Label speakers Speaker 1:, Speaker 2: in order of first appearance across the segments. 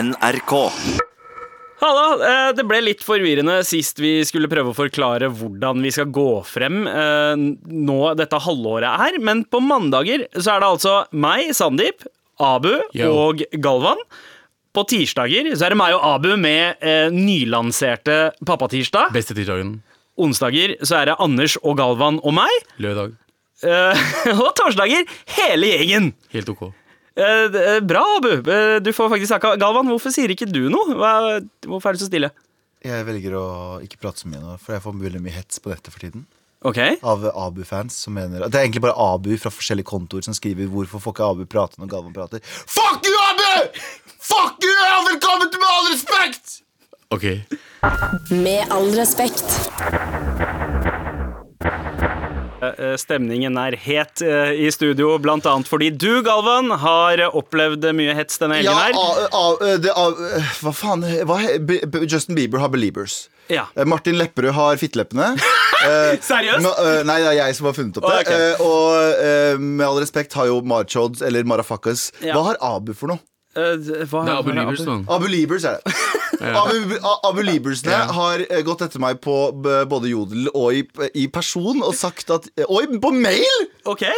Speaker 1: NRK.
Speaker 2: Halla! eh, Det ble litt forvirrende sist vi skulle prøve å forklare hvordan vi skal gå frem eh, nå dette halvåret her, men på mandager så er det altså meg, Sandeep, Abu
Speaker 3: Yo.
Speaker 2: og Galvan. På tirsdager så er det meg og Abu med eh, nylanserte Pappatirsdag.
Speaker 3: Beste tirsdagen.
Speaker 2: Onsdager så er det Anders og Galvan og meg.
Speaker 3: Lørdag.
Speaker 2: Eh, og torsdager hele gjengen.
Speaker 3: Helt ok.
Speaker 2: Eh, d- eh, bra, Abu. Eh, du får faktisk snakka. Galvan, hvorfor sier ikke du noe? Hva, hvorfor er du så stille?
Speaker 4: Jeg velger å ikke prate så mye nå, for jeg får veldig mye hets på nettet for tiden.
Speaker 2: Ok,
Speaker 4: Av Abu-fans som mener Det er egentlig bare Abu fra forskjellige kontoer som skriver 'Hvorfor får ikke Abu prate når Galvan prater?' Fuck you, Abu! Fuck you! og Velkommen til Med all respekt!
Speaker 3: Ok.
Speaker 5: Med all respekt.
Speaker 2: Eh, Stemningen er het eh, i studio, blant annet fordi du, Galvan, har opplevd mye hets denne helgen her.
Speaker 4: A- A- A- det, A- hva faen hva, he- B- B- Justin Bieber har Beliebers.
Speaker 2: Ja.
Speaker 4: Eh, Martin Lepperød har fitteleppene. Eh,
Speaker 2: Seriøst?
Speaker 4: nå- eh, nei, det er jeg som har funnet opp det.
Speaker 2: Å, ok.
Speaker 4: Eh, og eh, med all respekt har jo Marchod eller Marafakas
Speaker 2: Ja.
Speaker 4: Hva har Abu for noe?
Speaker 2: Eh, d- hva-
Speaker 3: Det er Abu
Speaker 2: hva
Speaker 3: Libers, mann.
Speaker 4: Abu Liebers er det. Abu, A- Abu Liebersene
Speaker 3: Ja.
Speaker 4: har eh, gått etter meg på b- både Jodel og i, i person og sagt at Og i- på mail!
Speaker 2: Ok,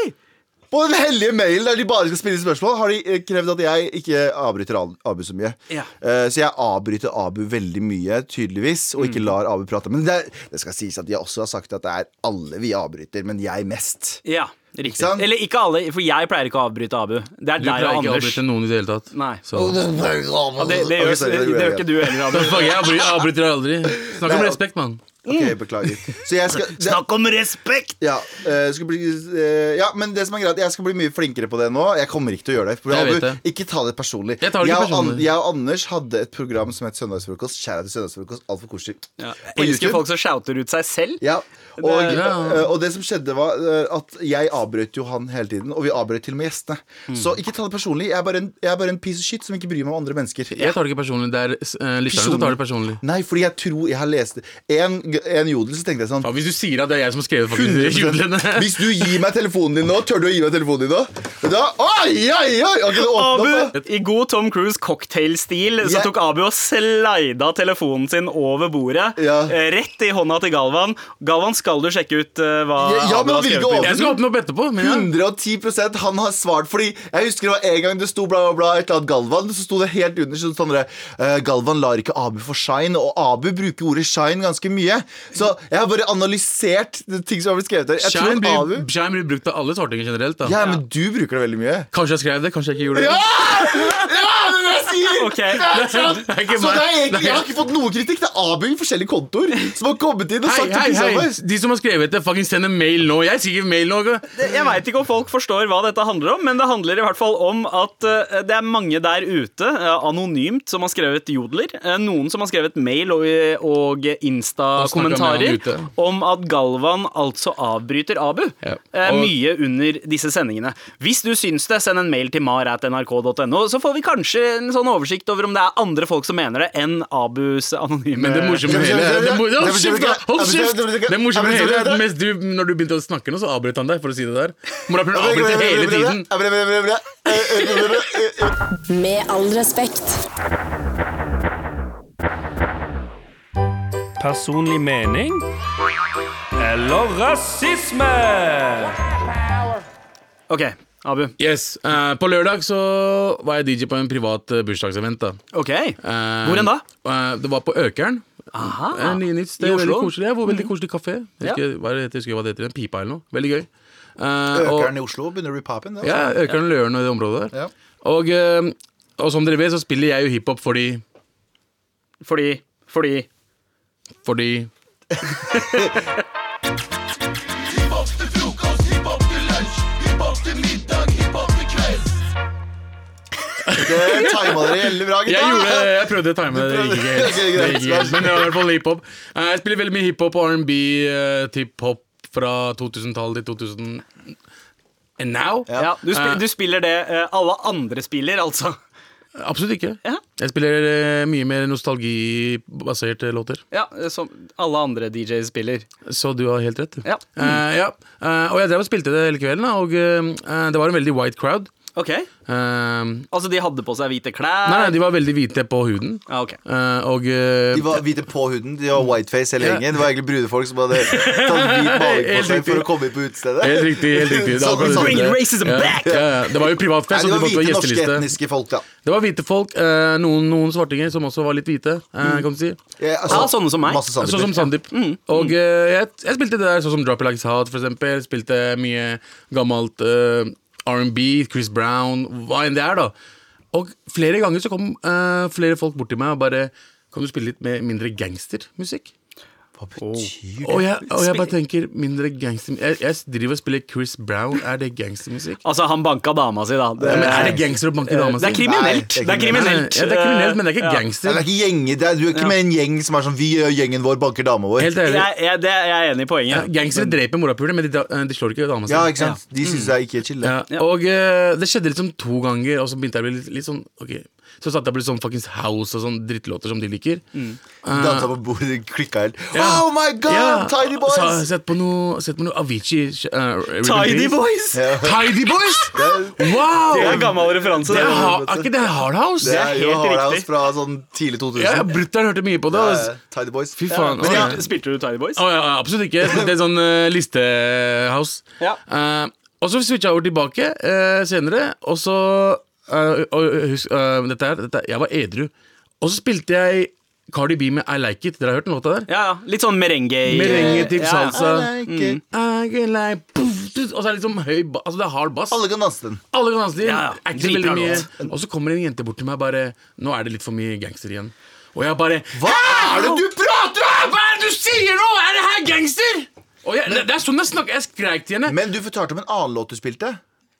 Speaker 4: På den hellige mailen der de bare skal spille spørsmål, har de eh, krevd at jeg ikke avbryter Al- Abu så mye.
Speaker 2: Ja.
Speaker 4: Eh, Så jeg avbryter Abu veldig mye, tydeligvis,
Speaker 2: Mm.
Speaker 4: og ikke lar Abu prate. Men det, er- det skal sies at de også har sagt at det er alle vi avbryter, men jeg mest.
Speaker 2: ja, riktig.
Speaker 4: sant?
Speaker 2: Eller ikke alle, for jeg pleier ikke å avbryte Abu. Det er deg
Speaker 3: Du
Speaker 2: og
Speaker 3: pleier ikke å
Speaker 2: Anders.
Speaker 3: avbryte noen i det hele tatt.
Speaker 2: Nei.
Speaker 3: Så.
Speaker 2: Ja, det, det, gjør,
Speaker 4: Ok, sorry,
Speaker 2: det, det
Speaker 4: gjorde jeg
Speaker 2: gjør ikke
Speaker 4: igjen.
Speaker 2: du heller, Abu.
Speaker 3: Fuck, jeg avbry- avbryter deg aldri. Snakk om
Speaker 4: Nei,
Speaker 3: respekt, mann.
Speaker 4: Ok, beklager. Så jeg skal det,
Speaker 2: Snakk om respekt!
Speaker 4: ja, eh, skal bli, eh, ja, men det som er greit Jeg skal bli mye flinkere på det nå. Jeg kommer ikke til å gjøre det. For
Speaker 3: Jeg
Speaker 4: Abu,
Speaker 3: vet det.
Speaker 4: ikke ta det personlig.
Speaker 3: Jeg tar det ikke
Speaker 4: og An-
Speaker 3: personlig.
Speaker 4: jeg og Anders hadde et program som het Søndagsfrokost. Kjære til Søndagsfrokost. Altfor koselig.
Speaker 2: Ja,
Speaker 4: På
Speaker 2: jeg elsker
Speaker 4: YouTube.
Speaker 2: folk som shouter ut seg selv.
Speaker 4: Ja, og,
Speaker 3: Ja.
Speaker 4: og det som skjedde var eh, at jeg avbrøt jo han hele tiden, og vi avbrøt til og med gjestene.
Speaker 3: Mm.
Speaker 4: Så ikke ta det personlig. Jeg er, bare en, jeg er bare en piece of shit som ikke bryr meg om andre mennesker.
Speaker 3: Jeg tar det ikke personlig. Det er uh, lytterne som tar det personlig.
Speaker 4: Nei, fordi jeg tror jeg har lest en, en jodel, så tenkte jeg sånn
Speaker 3: Ja, hvis du sier at det er jeg som har skrevet faktisk,
Speaker 4: 100%. Hvis du gir meg telefonen din nå, tør du å gi meg telefonen din nå? Da, oi, oi, oi! Ok, nå åpner det opp,
Speaker 2: Abu, I god Tom Cruise cocktailstil så
Speaker 4: Jeg-
Speaker 2: tok Abu og slida telefonen sin over bordet.
Speaker 4: Ja.
Speaker 2: eh, Rett i hånda til Galvan. Galvan, skal du sjekke ut eh, hva
Speaker 4: Ja, ja,
Speaker 2: Abu
Speaker 4: men
Speaker 2: har
Speaker 4: han vil
Speaker 2: skrevet på
Speaker 4: ikke åpne
Speaker 2: internett?
Speaker 3: Jeg skal åpne opp etterpå. Men ja.
Speaker 4: 110 han har svart. Fordi jeg husker det var en gang det sto bla, bla, bla, et eller annet Galvan, så sto det helt under så sto det eh, Galvan lar ikke Abu få shine, og Abu bruker ordet shine ganske mye. Så jeg har bare analysert det ting som har blitt skrevet der. Jeg
Speaker 3: Shine
Speaker 4: tror Abu
Speaker 3: blir, shine blir brukt av alle svartinger generelt. Da.
Speaker 4: Ja, men du bruker det veldig mye.
Speaker 3: Kanskje jeg skrev det, kanskje jeg ikke gjorde det.
Speaker 4: Ja, det er det jeg sier!
Speaker 2: Ok,
Speaker 4: Det er sant!
Speaker 3: det er ikke
Speaker 4: Så det er
Speaker 3: meg.
Speaker 4: egentlig, jeg har ikke fått noe kritikk. Det er Abu i forskjellige kontoer som har kommet inn og
Speaker 3: Hei,
Speaker 4: sagt
Speaker 3: hei,
Speaker 4: det
Speaker 3: hei.
Speaker 4: samme.
Speaker 3: De som har skrevet det, fucking send en mail nå. Jeg skriver mail nå. ikke?
Speaker 2: Jeg veit ikke om folk forstår hva dette handler om, men det handler i hvert fall om at eh, det er mange der ute, eh, anonymt, som har skrevet jodler. Eh, noen som har skrevet mail og, eh, og Insta-kommentarer
Speaker 3: Og snakket med han
Speaker 2: om at Galvan altså avbryter Abu.
Speaker 3: Ja.
Speaker 2: Eh,
Speaker 3: Og-
Speaker 2: mye under disse sendingene. Hvis du syns det, send en mail til mar.nrk.no, så får vi kanskje en sånn oversikt over om det er andre folk som mener det, enn Abus anonyme
Speaker 3: Men det morsomme med hele det mo- Hold kjeft, da! Hold kjeft! Det morsomme med hele mens du, Når du begynte å snakke nå, så avbrøt han deg for å si det der. Morapulen avbryter hele tiden.
Speaker 5: Med all respekt.
Speaker 6: personlig mening eller rasisme?
Speaker 2: Ok, Abu.
Speaker 3: Yes, eh, På lørdag så var jeg DJ på en privat eh, bursdagsevent. da
Speaker 2: Ok.
Speaker 3: Eh,
Speaker 2: Hvor enn da?
Speaker 3: eh, det var på Økeren.
Speaker 2: Aha.
Speaker 3: Eh, ny- nytt sted,
Speaker 2: I Oslo? Mm.
Speaker 3: Veldig koselig, ja, hvor veldig koselig kafé.
Speaker 2: Ja.
Speaker 3: Jeg husker, hva er det, jeg husker hva det heter, en pipa eller noe. Veldig gøy. Eh, og-
Speaker 4: Økeren i Oslo begynner å bli papen. det, altså.
Speaker 3: Ja, Økeren og Løren og det området der.
Speaker 4: Ja.
Speaker 3: Og, eh, og som dere vet, så spiller jeg jo hiphop fordi
Speaker 2: Fordi Fordi
Speaker 3: Fordi
Speaker 4: Det tima dere veldig bra, gutta.
Speaker 3: jeg, gjorde, jeg prøvde å time det, det gikk ikke helt.
Speaker 4: Det gikk
Speaker 3: Det
Speaker 4: ikke helt.
Speaker 3: gikk ikke helt. Men det var i hvert fall hiphop. Eh, Jeg spiller veldig mye hiphop og R&B, eh, tipp-hop fra 2000-tallet til 2000 And now?
Speaker 2: Ja, du, spi du spiller det eh, alle andre spiller, altså.
Speaker 3: Absolutt ikke.
Speaker 2: Ja.
Speaker 3: Jeg spiller eh, mye mer nostalgibaserte låter.
Speaker 2: Ja, eh, Som alle andre DJ-er spiller.
Speaker 3: Så du har helt rett. du.
Speaker 2: Ja.
Speaker 3: Eh, ja. Eh, og jeg drev og spilte det hele kvelden, da, og eh, eh, det var en veldig white crowd.
Speaker 2: Ok,
Speaker 3: Ehm,
Speaker 2: Altså, de hadde på seg hvite klær?
Speaker 3: nei, nei, de var veldig hvite på huden.
Speaker 2: Ja, ok.
Speaker 3: Eh, og eh,
Speaker 4: De var hvite på huden, de var whiteface hele
Speaker 3: Ja.
Speaker 4: gjengen. Det var egentlig brune folk som hadde tatt hvit maling på
Speaker 3: Helt
Speaker 4: seg for
Speaker 3: riktig.
Speaker 4: å komme inn på utestedet.
Speaker 3: Helt riktig, helt riktig. Det er
Speaker 4: Sånn-
Speaker 3: akkurat det.
Speaker 4: sånn-
Speaker 2: Bring
Speaker 4: Nei,
Speaker 2: racism
Speaker 3: ja,
Speaker 2: back!
Speaker 3: ja, ja. Det sånn var jo privatfest,
Speaker 4: det
Speaker 3: så de
Speaker 4: var
Speaker 3: måtte ha
Speaker 4: hvite norske
Speaker 3: gjesteliste.
Speaker 4: etniske folk, da.
Speaker 3: Det var hvite folk. eh, noen, noen svartinger som også var litt hvite.
Speaker 4: Mm.
Speaker 3: eh, kan du si
Speaker 4: Ja,
Speaker 2: Ja,
Speaker 4: altså,
Speaker 2: sånne som meg.
Speaker 4: Masse sandeper.
Speaker 3: Sånn som Sandeep.
Speaker 2: Mm.
Speaker 3: Og eh, jeg, jeg spilte det der sånn som Drop It Like It's Hot, for eksempel. Spilte mye gammelt eh, R&B, Chris Brown, hva enn det er, da. Og flere ganger så kom eh, flere folk bort til meg og bare Kan du spille litt mer- mindre gangstermusikk?
Speaker 4: Hva betyr det?
Speaker 3: Og jeg, og jeg bare tenker mindre gangster jeg, jeg driver og spiller Chris Brown. Er det gangstermusikk?
Speaker 2: Altså, han banka dama si, da. Det, Eh,
Speaker 3: Ja, men er det gangster å banke dama
Speaker 2: det er
Speaker 3: si?
Speaker 2: kriminelt.
Speaker 4: Nei,
Speaker 2: det er kriminelt.
Speaker 3: Ja, det er kriminelt, men det er ikke
Speaker 4: Nei,
Speaker 3: gangster.
Speaker 4: det er ikke gjenger, det er, du er ikke med i en gjeng som er sånn Vi gjør gjengen vår, banker dama vår.
Speaker 3: Helt ærlig.
Speaker 2: Eh, Jeg, jeg, det, jeg er enig i
Speaker 3: Ja,
Speaker 2: poenget.
Speaker 3: Gangstere dreper morapuler, men de, da- de slår ikke dama si.
Speaker 4: Ja, ikke sant? De syns jeg ikke er chill. det.
Speaker 3: Mm. Ja,
Speaker 2: Ja.
Speaker 3: Og eh, det skjedde liksom to ganger, og så begynte jeg å bli litt, litt sånn Ok, så satt jeg på litt sånn fuckings House og sånn drittlåter som de liker. Eh,
Speaker 4: Data på bordet klikka helt.
Speaker 3: Ja.
Speaker 4: Oh my god,
Speaker 3: ja,
Speaker 4: Tiny
Speaker 3: Så har jeg
Speaker 4: Boys!
Speaker 3: sett på noe, sett på noe Avicii eh, Rhythm
Speaker 2: Tidy
Speaker 3: Beats.
Speaker 2: Boys!
Speaker 3: Tidy Boys!
Speaker 2: Det er
Speaker 3: Wow!
Speaker 2: en gammel referanse.
Speaker 3: Det
Speaker 2: Det
Speaker 3: er, ha- er ikke det Hard House?
Speaker 4: Det er jo
Speaker 2: helt
Speaker 4: Hardhouse
Speaker 2: riktig.
Speaker 4: fra sånn tidlig 2000.
Speaker 3: Ja, Brutter'n hørte mye på det.
Speaker 4: Ja,
Speaker 3: altså.
Speaker 4: Tiny Boys.
Speaker 3: Fy faen.
Speaker 4: Men
Speaker 3: å,
Speaker 4: ja,
Speaker 3: ja.
Speaker 2: Spilte du Tidy Boys?
Speaker 3: Å, ja, ja, absolutt ikke. Det er sånn eh, listehouse.
Speaker 2: Ja.
Speaker 3: Eh, og så switcha jeg over tilbake eh, senere, og så eh, og, husk, eh, dette her, dette, Jeg var edru. Og så spilte jeg Cardi B med I Like It. Dere har hørt den låta der?
Speaker 2: Ja, ja. Litt sånn merengue.
Speaker 3: Merengue til
Speaker 2: ja.
Speaker 3: salsa.
Speaker 4: I like
Speaker 3: mm.
Speaker 4: it.
Speaker 3: altså. I can like, poof, tut, og så er det liksom høy ba- Altså det er hard bass.
Speaker 4: Alle kan danse den.
Speaker 3: Alle kan danse til.
Speaker 2: Ja, ja.
Speaker 3: Acter
Speaker 2: Dritbra
Speaker 3: veldig mye.
Speaker 2: låt.
Speaker 3: Og så kommer en jente bort til meg bare Nå er det litt for mye gangster igjen. Og jeg bare
Speaker 4: Hva er det du prater om?!
Speaker 3: Hva er det du sier nå?! Er det her gangster?! Og jeg, det, det er sånn jeg snakker. Jeg skreik til henne.
Speaker 4: Men du fortalte om en annen låt du spilte.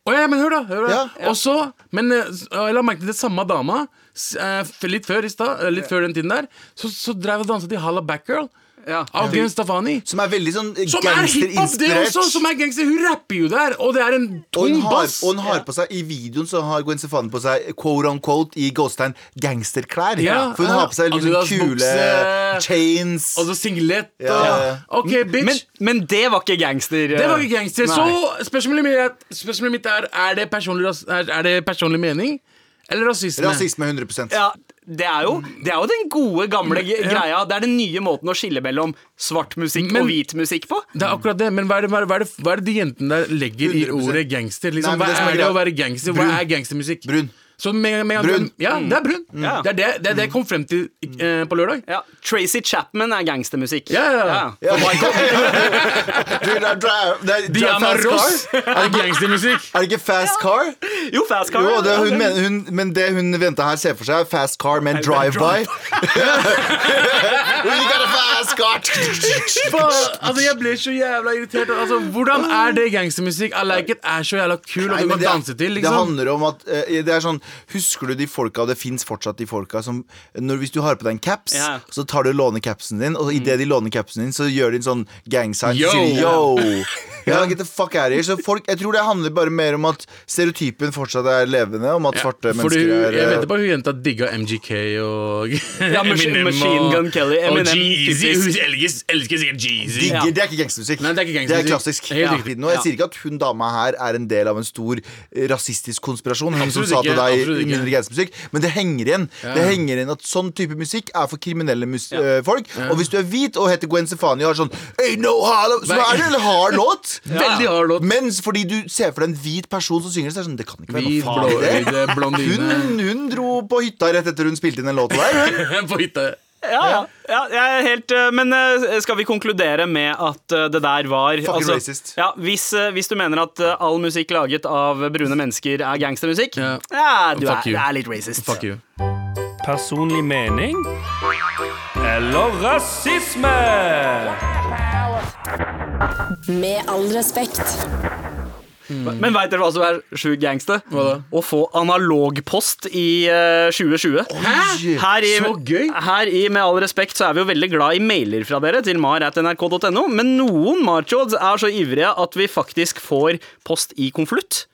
Speaker 3: Å ja, men hør da, hør da.
Speaker 4: Ja.
Speaker 3: Og så, men eh, s- og jeg la merke til det samme dama s- eh, f- Litt før i stad, eh, litt før den tiden der Så, så drev og danset til Halla Backgirl
Speaker 2: Ja.
Speaker 3: Av Gwen Stefani
Speaker 4: Som er veldig sånn
Speaker 3: Som er hiphop det
Speaker 4: gangsterinspirert.
Speaker 3: også, som er gangster Hun rapper jo der, og det er en
Speaker 4: Og hun
Speaker 3: tung
Speaker 4: har,
Speaker 3: bass
Speaker 4: og hun har på seg I videoen så har Gwen Stefani på seg quote on quote i gåstein gangsterklær.
Speaker 3: Ja,
Speaker 4: For hun
Speaker 3: ja.
Speaker 4: har på seg litt sånn
Speaker 3: Adidas
Speaker 4: kule
Speaker 3: bukse. Altså,
Speaker 4: chains.
Speaker 3: Og så singlett og,
Speaker 4: Ja, ja, ja.
Speaker 3: Ok, bitch
Speaker 2: Men, men det var ikke gangster. eh,
Speaker 3: Det var ikke gangster
Speaker 2: Nei.
Speaker 3: Så spørsmålet mitt er, spørsmålet mitt er Er det personlig, ras- er, er det personlig mening? Eller rasisme?
Speaker 4: Rasisme 100
Speaker 2: Ja, det er, jo, det er jo den gode, gamle
Speaker 4: Mm,
Speaker 2: ge- greia. Det er den nye måten å skille mellom svart musikk
Speaker 3: Men-
Speaker 2: og hvit musikk på.
Speaker 3: Det er akkurat det, men hva er det, hva er det, hva er det, hva er det de jentene der legger i
Speaker 4: 100%.
Speaker 3: ordet gangster? Liksom,
Speaker 4: Nei, men det
Speaker 3: hva
Speaker 4: som er
Speaker 3: er, det
Speaker 4: greia-
Speaker 3: å være gangster? Hva
Speaker 4: Brun.
Speaker 3: er gangstermusikk?
Speaker 4: Brun.
Speaker 3: Så med, med,
Speaker 4: Brun. Mm.
Speaker 3: Ja, det er brun.
Speaker 2: Mm. Ja. Mm.
Speaker 3: Det er det, det, er det jeg kom frem til eh, på lørdag.
Speaker 2: Ja, Tracy Chapman er gangstermusikk.
Speaker 3: Ja, ja, ja.
Speaker 4: Ja. Drill and drive- det er- drive
Speaker 3: Diana
Speaker 4: fast
Speaker 3: Ross
Speaker 4: car.
Speaker 3: er gangstermusikk.
Speaker 4: Er det ikke Fast Car?
Speaker 2: Jo, Fast Car.
Speaker 4: Jo, det, hun mener, hun, men det hun venta her, ser for seg, er Fast Car med en drive-by. We got a fast car
Speaker 3: Faen, altså Jeg ble så jævla irritert. Altså, Hvordan er det gangstermusikk? I like it er så jævla kul, og
Speaker 4: Nei,
Speaker 3: du
Speaker 4: men
Speaker 3: kan
Speaker 4: det-
Speaker 3: danse til,
Speaker 4: Det
Speaker 3: liksom.
Speaker 4: handler om at eh, Det er sånn Husker du de folka Det fins fortsatt de folka som når, Hvis du har på deg en caps,
Speaker 2: Ja.
Speaker 4: så tar du og låner capsen din, og idet de låner capsen din, så gjør de en sånn gang-sign.
Speaker 3: Yo!
Speaker 4: Så sier de yo! Ja, get the fuck out of here. Så folk, jeg tror det handler bare mer om at stereotypen fortsatt er levende, om at
Speaker 3: Ja,
Speaker 4: svarte
Speaker 3: fordi
Speaker 4: mennesker
Speaker 3: hun,
Speaker 4: er
Speaker 3: jeg
Speaker 4: eh,
Speaker 3: vet bare hun jenta digga MGK og
Speaker 2: Mas-
Speaker 3: Eminem
Speaker 2: Machine Gun Kelly,
Speaker 3: og
Speaker 2: Eminem,
Speaker 3: Jeezy. Hun
Speaker 2: typisk.
Speaker 3: elsker, elsker sikkert Jeezy.
Speaker 4: Digger,
Speaker 2: Ja.
Speaker 4: Det er ikke gangstermusikk.
Speaker 3: Nei, det er ikke gangstermusikk.
Speaker 4: klassisk.
Speaker 3: Helt
Speaker 4: Ja.
Speaker 3: riktig.
Speaker 4: Nå, jeg
Speaker 2: Ja.
Speaker 4: sier ikke at hun dama her er en del av en stor eh, rasistisk konspirasjon, hun som
Speaker 3: Absolutt
Speaker 4: sa til
Speaker 3: ikke,
Speaker 4: deg
Speaker 3: absolutt ikke.
Speaker 4: mindre gangstermusikk, men det henger igjen. Det henger igjen at sånn type musikk er for kriminelle mus eh, folk. Og hvis du er hvit og heter Gwen Stefani og har sånn Hey, no, hello, så
Speaker 3: Nei.
Speaker 4: er det en hard låt.
Speaker 3: Veldig hard låt.
Speaker 4: Men fordi du ser for deg en hvit person som synger, så er det sånn Det kan ikke være
Speaker 3: Hvit,
Speaker 4: noe faen i det.
Speaker 3: blåøyd, blondine
Speaker 4: Hun, hun dro på hytta rett etter hun spilte inn den låta der. Hun.
Speaker 3: på hytta.
Speaker 2: Ja, ja. ja jeg er helt, eh, men eh, skal vi konkludere med at eh, det der var
Speaker 4: Fucking racist.
Speaker 2: Ja, hvis, eh, hvis du mener at eh, all musikk laget av brune mennesker er gangstermusikk, ja,
Speaker 3: Ja.
Speaker 2: du
Speaker 3: Fuck
Speaker 2: er,
Speaker 3: you.
Speaker 2: er litt racist.
Speaker 3: Fuck you.
Speaker 6: Personlig mening eller rasisme?
Speaker 5: Med all respekt.
Speaker 2: Men veit dere hva som er sjukt gangster? Å få analogpost i eh, 2020.
Speaker 4: Hæ?
Speaker 2: Her i,
Speaker 3: Så gøy!
Speaker 2: Her i Med all respekt så er vi jo veldig glad i mailer fra dere til mar.nrk.no, men noen marchods er så ivrige at vi faktisk får post i konvolutt.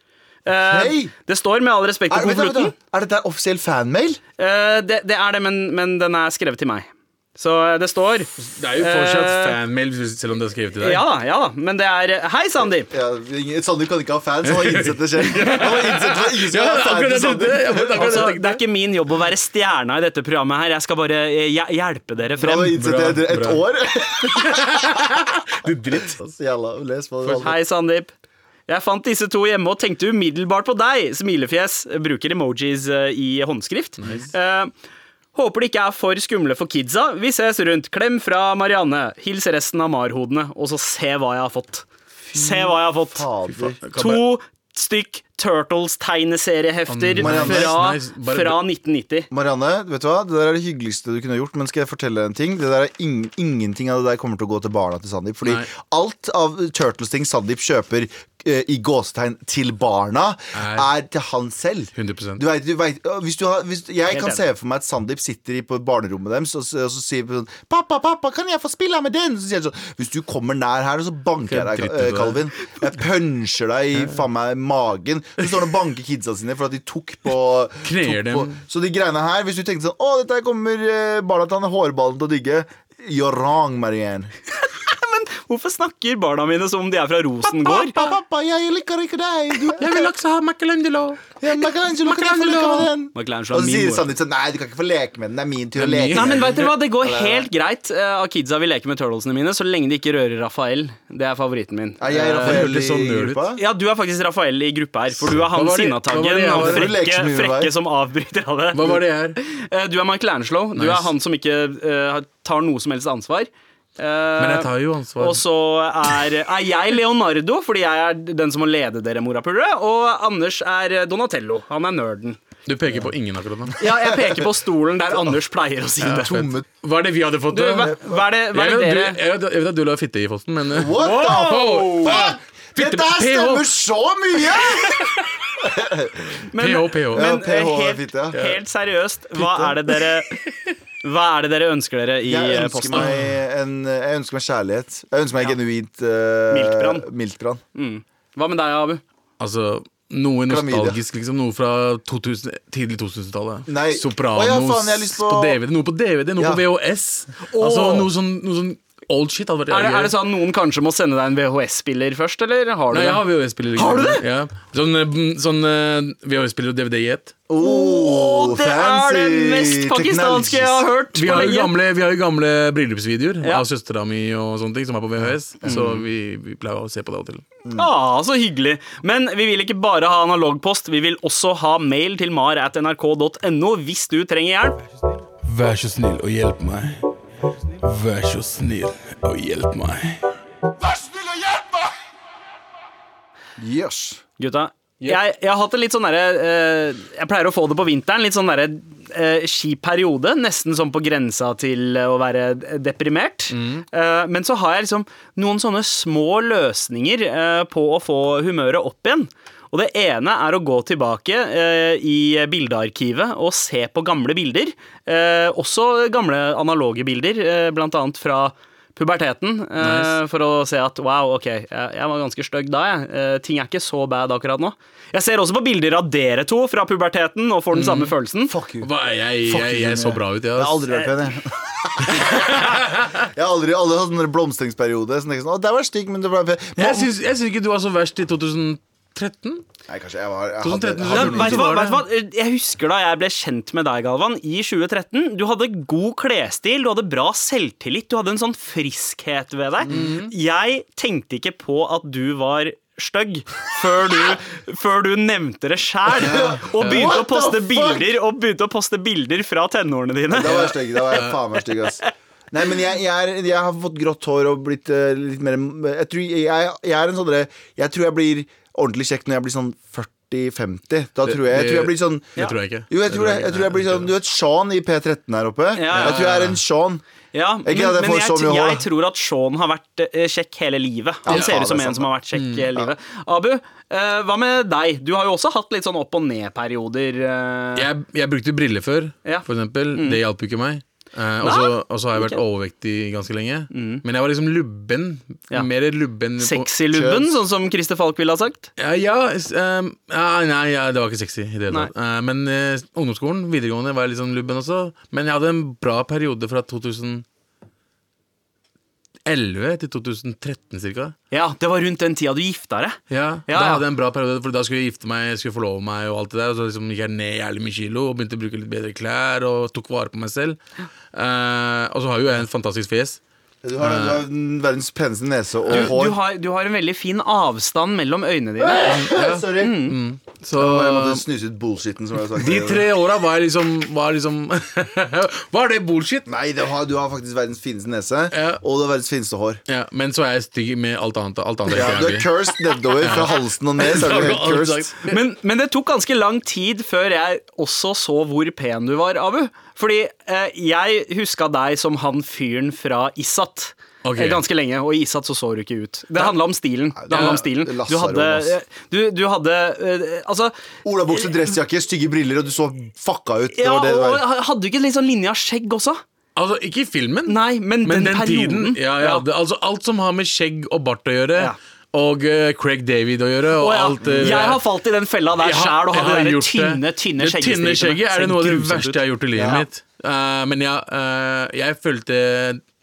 Speaker 2: Eh,
Speaker 4: Hei!
Speaker 2: Det står med all respekt på
Speaker 4: Er, vent da, vent da.
Speaker 2: konvolutten.
Speaker 4: er dette offisiell fanmail?
Speaker 2: Eh, det, det er det, men, men den er skrevet til meg. Så eh, det står
Speaker 3: Det er jo fortsatt
Speaker 2: Eh,
Speaker 3: fanmail, selv om det er skrevet til deg.
Speaker 2: Ja da, ja da. Men det er eh, Hei, Sandeep!
Speaker 4: Ja, ingen- Sandeep kan ikke ha fans, han har innsett det selv. Han har innsett det,
Speaker 3: Ja,
Speaker 4: ingen skal ha
Speaker 3: akkurat det
Speaker 4: fans til
Speaker 3: jeg tenkte.
Speaker 4: Sandeep.
Speaker 3: Ja, men akkurat det
Speaker 2: Altså,
Speaker 3: jeg
Speaker 2: det er
Speaker 3: tenkte.
Speaker 2: ikke min jobb å være stjerna i dette programmet her. Jeg skal bare eh, hje- hjelpe dere
Speaker 4: Han
Speaker 2: frem.
Speaker 4: har innsett det etter et
Speaker 3: Bra, bra.
Speaker 4: år.
Speaker 3: Du dritt.
Speaker 4: Så Jævla, les på det.
Speaker 2: Hei, Sandeep. Jeg fant disse to hjemme og tenkte umiddelbart på deg. Smilefjes. Bruker emojis eh, i håndskrift. Eh, håper det ikke er for skumle for kidsa. Vi ses rundt. Klem fra Marianne. Hils resten av marhodene, og så se hva jeg har fått. Se hva jeg har fått.
Speaker 4: Fader.
Speaker 2: To stykk Turtles-tegneseriehefter
Speaker 3: Å,
Speaker 4: nice,
Speaker 2: fra,
Speaker 3: nice. Bare-
Speaker 2: fra 1990.
Speaker 4: Marianne, vet du hva? det der er det hyggeligste du kunne gjort. Men skal jeg fortelle deg en ting? Det der er ing ingenting av det der kommer til å gå til barna til Sandeep. Fordi
Speaker 3: Nei.
Speaker 4: alt av Turtles-ting Sandeep kjøper eh, i gåsetegn til barna,
Speaker 3: Er-
Speaker 4: er til han selv.
Speaker 3: 100%.
Speaker 4: Du vet, du vet, øh, hvis du har, hvis, jeg
Speaker 2: Helt
Speaker 4: kan
Speaker 2: enig.
Speaker 4: se for meg at Sandeep sitter i på barnerommet deres og, s- og så sier sånn 'Pappa, pappa, kan jeg få spille med den?' Så sier han sånn 'Hvis du kommer nær her, så banker jeg
Speaker 3: Skal jeg
Speaker 4: deg,
Speaker 3: drite
Speaker 4: øh,
Speaker 3: på deg?»
Speaker 4: Calvin.' 'Jeg puncher deg i faen meg magen.' Så står han og banker kidsa sine for at de tok på
Speaker 3: Kner
Speaker 4: tok på-
Speaker 3: dem.
Speaker 4: så de greiene her, hvis du tenkte sånn 'Å, dette her kommer eh, barna til han hårballen til å digge', you're wrong, Marianne.
Speaker 2: Hvorfor snakker barna mine som om de er fra Rosengård?
Speaker 4: Pappa, pappa, jeg liker ikke deg. Du,
Speaker 3: Jeg vil også ha Michelangelo.
Speaker 4: jeg, Michelangelo, kan jeg få leke med den?
Speaker 2: Michelangelo er
Speaker 4: Og så
Speaker 2: min
Speaker 4: sier
Speaker 2: mor.
Speaker 4: Sandeep sånn 'Nei, du kan ikke få leke med den. Det er min tur
Speaker 3: Det er
Speaker 4: å
Speaker 3: min.
Speaker 4: leke
Speaker 2: Nei, men
Speaker 4: med den'.
Speaker 2: vet dere hva? Det går helt greit eh, av kidsa vil leke med turtlesene mine, så lenge de ikke rører Rafael. Det er favoritten min.
Speaker 4: Er jeg
Speaker 2: Eh,
Speaker 3: Det
Speaker 4: Rafael
Speaker 3: hørtes sånn
Speaker 4: i
Speaker 3: nerd ut.
Speaker 4: gruppa?
Speaker 2: Ja, du er faktisk Rafael i gruppa her, for du er han
Speaker 3: Hva var det- hva var
Speaker 2: sinnataggen
Speaker 3: det jeg
Speaker 2: og
Speaker 3: var?
Speaker 4: Du leker
Speaker 2: frekke,
Speaker 4: så mye med
Speaker 2: frekke
Speaker 4: meg.
Speaker 2: som avbryter alle.
Speaker 3: Hva var det jeg er?
Speaker 2: Eh, Du er Michelangelo. Du
Speaker 3: Nice.
Speaker 2: er han som ikke eh, tar noe som helst ansvar. Eh,
Speaker 3: Men jeg tar jo ansvar.
Speaker 2: Og så er, er jeg Leonardo, fordi jeg er den som må lede dere, morapulere. Og Anders er eh, Donatello. Han er nerden.
Speaker 3: Du peker på ingen akkurat nå.
Speaker 2: Ja, jeg peker på stolen der Anders pleier å si det.
Speaker 4: Tomme
Speaker 3: Hva er det vi hadde fått?
Speaker 2: Du,
Speaker 3: da?
Speaker 2: hva, hva er det, hva er det
Speaker 3: jeg, vet,
Speaker 2: dere
Speaker 3: at du, jeg, vet, jeg vet at du la fitte i fossen, men eh,
Speaker 4: What the
Speaker 3: Oh,
Speaker 4: fuck?
Speaker 3: Fitte-
Speaker 4: Dette her
Speaker 3: PH.
Speaker 4: stemmer så mye!
Speaker 2: Men,
Speaker 3: PH, PH.
Speaker 2: men eh,
Speaker 4: Ja, PH er
Speaker 2: helt,
Speaker 4: fint, ja.
Speaker 2: helt seriøst, hva er det dere Hva er det dere ønsker dere i
Speaker 4: Jeg
Speaker 2: eh,
Speaker 4: ønsker,
Speaker 2: posten?
Speaker 4: meg en, jeg ønsker meg kjærlighet. Jeg ønsker meg genuint eh,
Speaker 2: Miltbrann.
Speaker 4: miltbrann.
Speaker 2: Hva med deg, Abu?
Speaker 3: altså noe
Speaker 4: Klamydia.
Speaker 3: nostalgisk, liksom. Noe fra 2000, tidlig 2000-tallet.
Speaker 4: Nei.
Speaker 3: Sopranos
Speaker 4: Å, ja, faen, jeg har lyst
Speaker 3: på...
Speaker 4: på-
Speaker 3: DVD. Noe på DVD, noe
Speaker 4: Ja.
Speaker 3: på VHS. Altså noe sånn, noe sånn old shit. Hadde vært
Speaker 2: Er det,
Speaker 3: jævlig
Speaker 2: er det sånn at noen kanskje må sende deg en VHS-spiller først, eller har du
Speaker 3: Nei,
Speaker 2: det?
Speaker 3: jeg har VHS-spiller.
Speaker 2: Har du det?
Speaker 3: Ja. Sånn, eh, mm, sånn eh, VHS-spiller og DVD i ett.
Speaker 4: Oh,
Speaker 2: det er det
Speaker 4: fancy
Speaker 2: mest pakistanske jeg har
Speaker 4: technologies.
Speaker 2: hørt
Speaker 3: Vi
Speaker 2: på
Speaker 3: har jo
Speaker 2: lenge.
Speaker 3: gamle, vi har jo gamle bryllupsvideoer
Speaker 2: Ja.
Speaker 3: av søstera mi og sånne ting som er på VHS. Så vi, vi pleier å se på det av og til.
Speaker 4: Mm.
Speaker 2: Ah, så hyggelig. Men vi vil ikke bare ha analogpost, vi vil også ha mail til mar at nrk.no hvis du trenger hjelp.
Speaker 1: Vær så snill og hjelp meg. Vær så snill og hjelp meg.
Speaker 4: Yes.
Speaker 2: Gutta, jeg, jeg har hatt det litt sånn derre eh, Jeg pleier å få det på vinteren. Litt sånn derre eh, kjip periode. Nesten sånn på grensa til eh, å være d- deprimert. Eh, men så har jeg liksom noen sånne små løsninger eh, på å få humøret opp igjen. Og det ene er å gå tilbake eh, i bildearkivet og se på gamle bilder. Eh, også gamle analoge bilder, eh, blant annet fra puberteten. Eh, For å se at wow, ok, jeg, jeg var ganske stygg da, jeg. Eh, ting er ikke så bad akkurat nå. Jeg ser også på bilder av dere to fra puberteten og får den samme følelsen.
Speaker 4: Fuck you.
Speaker 3: Hva, jeg, jeg, jeg, så bra ut, jeg.
Speaker 4: Jeg har
Speaker 3: ass.
Speaker 4: aldri vært pen, jeg. jeg har aldri, aldri hatt sånn blomstringsperiode. Så tenker jeg sånn, å, der var jeg stygg, men det var pen.
Speaker 3: Jeg syns, jeg syns ikke du var så verst i 2013.
Speaker 4: Nei, kanskje jeg var jeg hadde-
Speaker 3: 2013,
Speaker 2: Ja,
Speaker 4: hadde-
Speaker 3: du
Speaker 2: vet du hva,
Speaker 3: var
Speaker 2: vet du hva? Jeg husker da jeg ble kjent med deg, Galvan, i 2013. Du hadde god klesstil, du hadde bra selvtillit, du hadde en sånn friskhet ved deg.
Speaker 4: Mhm.
Speaker 2: Jeg tenkte ikke på at du var stygg før, du- før du nevnte det sjæl. Og begynte å
Speaker 4: What the
Speaker 2: poste
Speaker 4: fuck?
Speaker 2: bilder Og begynte å poste bilder fra tenårene dine.
Speaker 4: Da var jeg stygg. Da var jeg faen meg stygg, ass. Nei, men jeg, jeg, er, jeg har fått grått hår og blitt eh, litt mer Jeg tror jeg, jeg er en sånn derre- Jeg tror jeg blir ordentlig kjekk når jeg blir sånn 40-50. Da tror jeg Jeg tror jeg blir sånn
Speaker 3: Det tror jeg ikke.
Speaker 4: Jo, jeg tror jeg, jeg, tror jeg blir sånn Du vet Sean i P13 her oppe?
Speaker 2: ja,
Speaker 4: Jeg tror jeg er en Sean.
Speaker 2: Ja, men,
Speaker 4: Ikke at jeg
Speaker 2: men
Speaker 4: får
Speaker 2: jeg,
Speaker 4: så mye hår,
Speaker 2: jeg
Speaker 4: da.
Speaker 2: tror at Sean har vært eh, kjekk hele livet. Han
Speaker 4: Ja,
Speaker 2: ser ut som
Speaker 4: det
Speaker 2: en
Speaker 4: er sant, Mm,
Speaker 2: som har vært kjekk hele livet. Abu, eh, hva med deg? Du har jo også hatt litt sånn opp og ned-perioder. eh.
Speaker 3: Jeg, jeg brukte briller før,
Speaker 2: Ja. Mm.
Speaker 3: for eksempel. Det hjalp jo ikke meg. Eh, og så- og så har jeg vært overvektig ganske lenge. Men jeg var liksom lubben.
Speaker 2: Mm. Ja.
Speaker 3: Mer lubben på-
Speaker 2: Sexy-lubben, sånn som Christer Falk ville ha sagt.
Speaker 3: Ja, ja, s- ehm, ja, nei, ja, det var ikke sexy i det hele tatt. Eh, men eh, ungdomsskolen, videregående, var jeg litt sånn lubben også. Men jeg hadde en bra periode fra 2011 til 2013 cirka.
Speaker 2: Ja, det var rundt den tida du gifta deg.
Speaker 3: Ja,
Speaker 2: Ja,
Speaker 3: Da
Speaker 2: ja.
Speaker 3: hadde jeg en bra periode, for da skulle jeg gifte meg, jeg skulle forlove meg og alt det der. Og så liksom gikk jeg ned jævlig mye kilo og begynte å bruke litt bedre klær og tok vare på meg selv. Eh, og så har jo jeg en fantastisk fjes.
Speaker 4: Du har, du har den verdens peneste nese og
Speaker 2: Du,
Speaker 4: hår.
Speaker 2: du, har, du har en veldig fin avstand mellom øynene dine.
Speaker 4: Sorry.
Speaker 3: Så
Speaker 4: Jeg måtte snuse ut bullshitten. Som jeg har sagt.
Speaker 3: de tre åra var jeg liksom Var liksom Var det bullshit?
Speaker 4: Nei, du har, du har faktisk verdens fineste nese,
Speaker 3: Ja.
Speaker 4: og du har verdens fineste hår.
Speaker 3: Ja, men så er jeg stygg med alt annet. Alt annet
Speaker 4: Ja,
Speaker 3: er
Speaker 4: du er
Speaker 3: ikke
Speaker 4: cursed nedover fra halsen og ned. Så er du
Speaker 3: jævlig.
Speaker 4: helt cursed
Speaker 2: Men, men det tok ganske lang tid før jeg også så hvor pen du var, Abu. Fordi eh, jeg huska deg som han fyren fra Isat.
Speaker 3: Ok.
Speaker 2: Eh, Ganske lenge, og i Isat så så du ikke ut. Det handla om stilen. Det handla om stilen.
Speaker 4: Lasse
Speaker 2: Du hadde,
Speaker 4: Aromas.
Speaker 2: eh, du, du hadde eh, Altså
Speaker 4: Olabukse, dressjakke, stygge briller, og du så fucka ut. Det
Speaker 2: ja,
Speaker 4: var det det
Speaker 2: og
Speaker 4: var.
Speaker 2: Hadde du ikke litt sånn linje av skjegg også?
Speaker 3: Altså, ikke i filmen,
Speaker 2: Nei, men den perioden.
Speaker 3: tiden. Ja, ja,
Speaker 2: Ja.
Speaker 3: det, altså, alt som har med skjegg og bart å gjøre,
Speaker 2: Ja.
Speaker 3: og eh, Craig David å gjøre, og
Speaker 2: Å ja,
Speaker 3: alt eh, det
Speaker 2: jeg
Speaker 3: der.
Speaker 2: har falt i den fella der
Speaker 3: Jeg har-
Speaker 2: sjæl og
Speaker 3: jeg
Speaker 2: har det
Speaker 3: har
Speaker 2: der
Speaker 3: gjort
Speaker 2: tynne, sånn tynne
Speaker 3: Det tynne
Speaker 2: skjeggestripene.
Speaker 3: skjegget er
Speaker 2: Ser
Speaker 3: det noe av det
Speaker 2: grusomt
Speaker 3: verste
Speaker 2: ut.
Speaker 3: jeg har gjort i livet
Speaker 4: Ja.
Speaker 3: mitt. Eh, men jeg, eh, jeg følte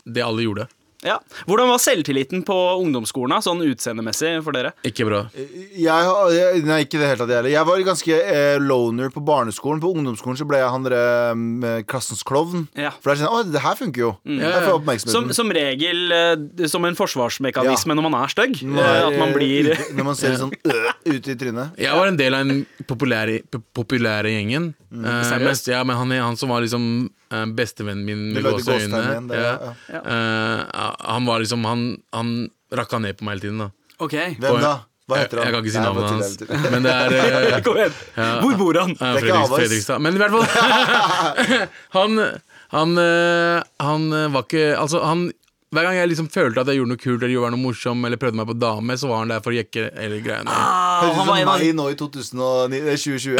Speaker 3: det alle gjorde.
Speaker 2: Ja. Hvordan var selvtilliten på ungdomsskolen, da, sånn utseendemessig for dere?
Speaker 3: Ikke bra.
Speaker 4: Jeg, har- jeg, nei, ikke det hele tatt, jeg heller. Jeg var ganske eh, loner på barneskolen. På ungdomsskolen så ble jeg han derre mm, klassens klovn.
Speaker 2: Ja. Mm.
Speaker 4: For det er sånn Å, det her funker jo. Jeg får oppmerksomheten.
Speaker 2: Som, som regel eh, som en forsvarsmekanisme
Speaker 4: Ja.
Speaker 2: når man er stygg.
Speaker 4: Når
Speaker 2: eh,
Speaker 4: man er,
Speaker 2: At man
Speaker 4: eh,
Speaker 2: blir
Speaker 4: ute- Når man ser sånn øh, ut i trynet.
Speaker 3: Jeg var en del av den populære, p- populære gjengen.
Speaker 2: Mm.
Speaker 3: Eh, mens, ja, men han, han som var liksom eh, bestevennen min
Speaker 4: Du
Speaker 3: med
Speaker 4: lagde
Speaker 3: gåseøyne.
Speaker 4: gåsetegn igjen, det,
Speaker 3: ja.
Speaker 4: ja.
Speaker 3: Eh, han var liksom Han, han rakka ned på meg hele tiden. da
Speaker 2: Ok.
Speaker 4: Hvem
Speaker 3: Og-
Speaker 4: da? Hva
Speaker 3: Jeg,
Speaker 4: heter han?
Speaker 3: jeg kan ikke si
Speaker 4: Nei,
Speaker 3: navnet
Speaker 4: jeg vet
Speaker 3: hans.
Speaker 4: ikke, jeg vet ikke.
Speaker 3: Men det er eh,
Speaker 2: Kom igjen. Hvor bor han?
Speaker 3: Ja,
Speaker 4: Det er ikke
Speaker 3: Fredriks-
Speaker 4: Avars.
Speaker 3: Fredrikstad. Men i hvert fall Han, han, øh, han øh, var ikke Altså, han hver gang jeg liksom følte at jeg gjorde noe kult eller gjorde noe morsom Eller prøvde meg på dame, så var han der for å jekke eller greiene.
Speaker 2: Ah,
Speaker 4: Høres
Speaker 2: han, var
Speaker 4: ut som
Speaker 2: en av,
Speaker 4: meg nå i 2009, eh, 2020.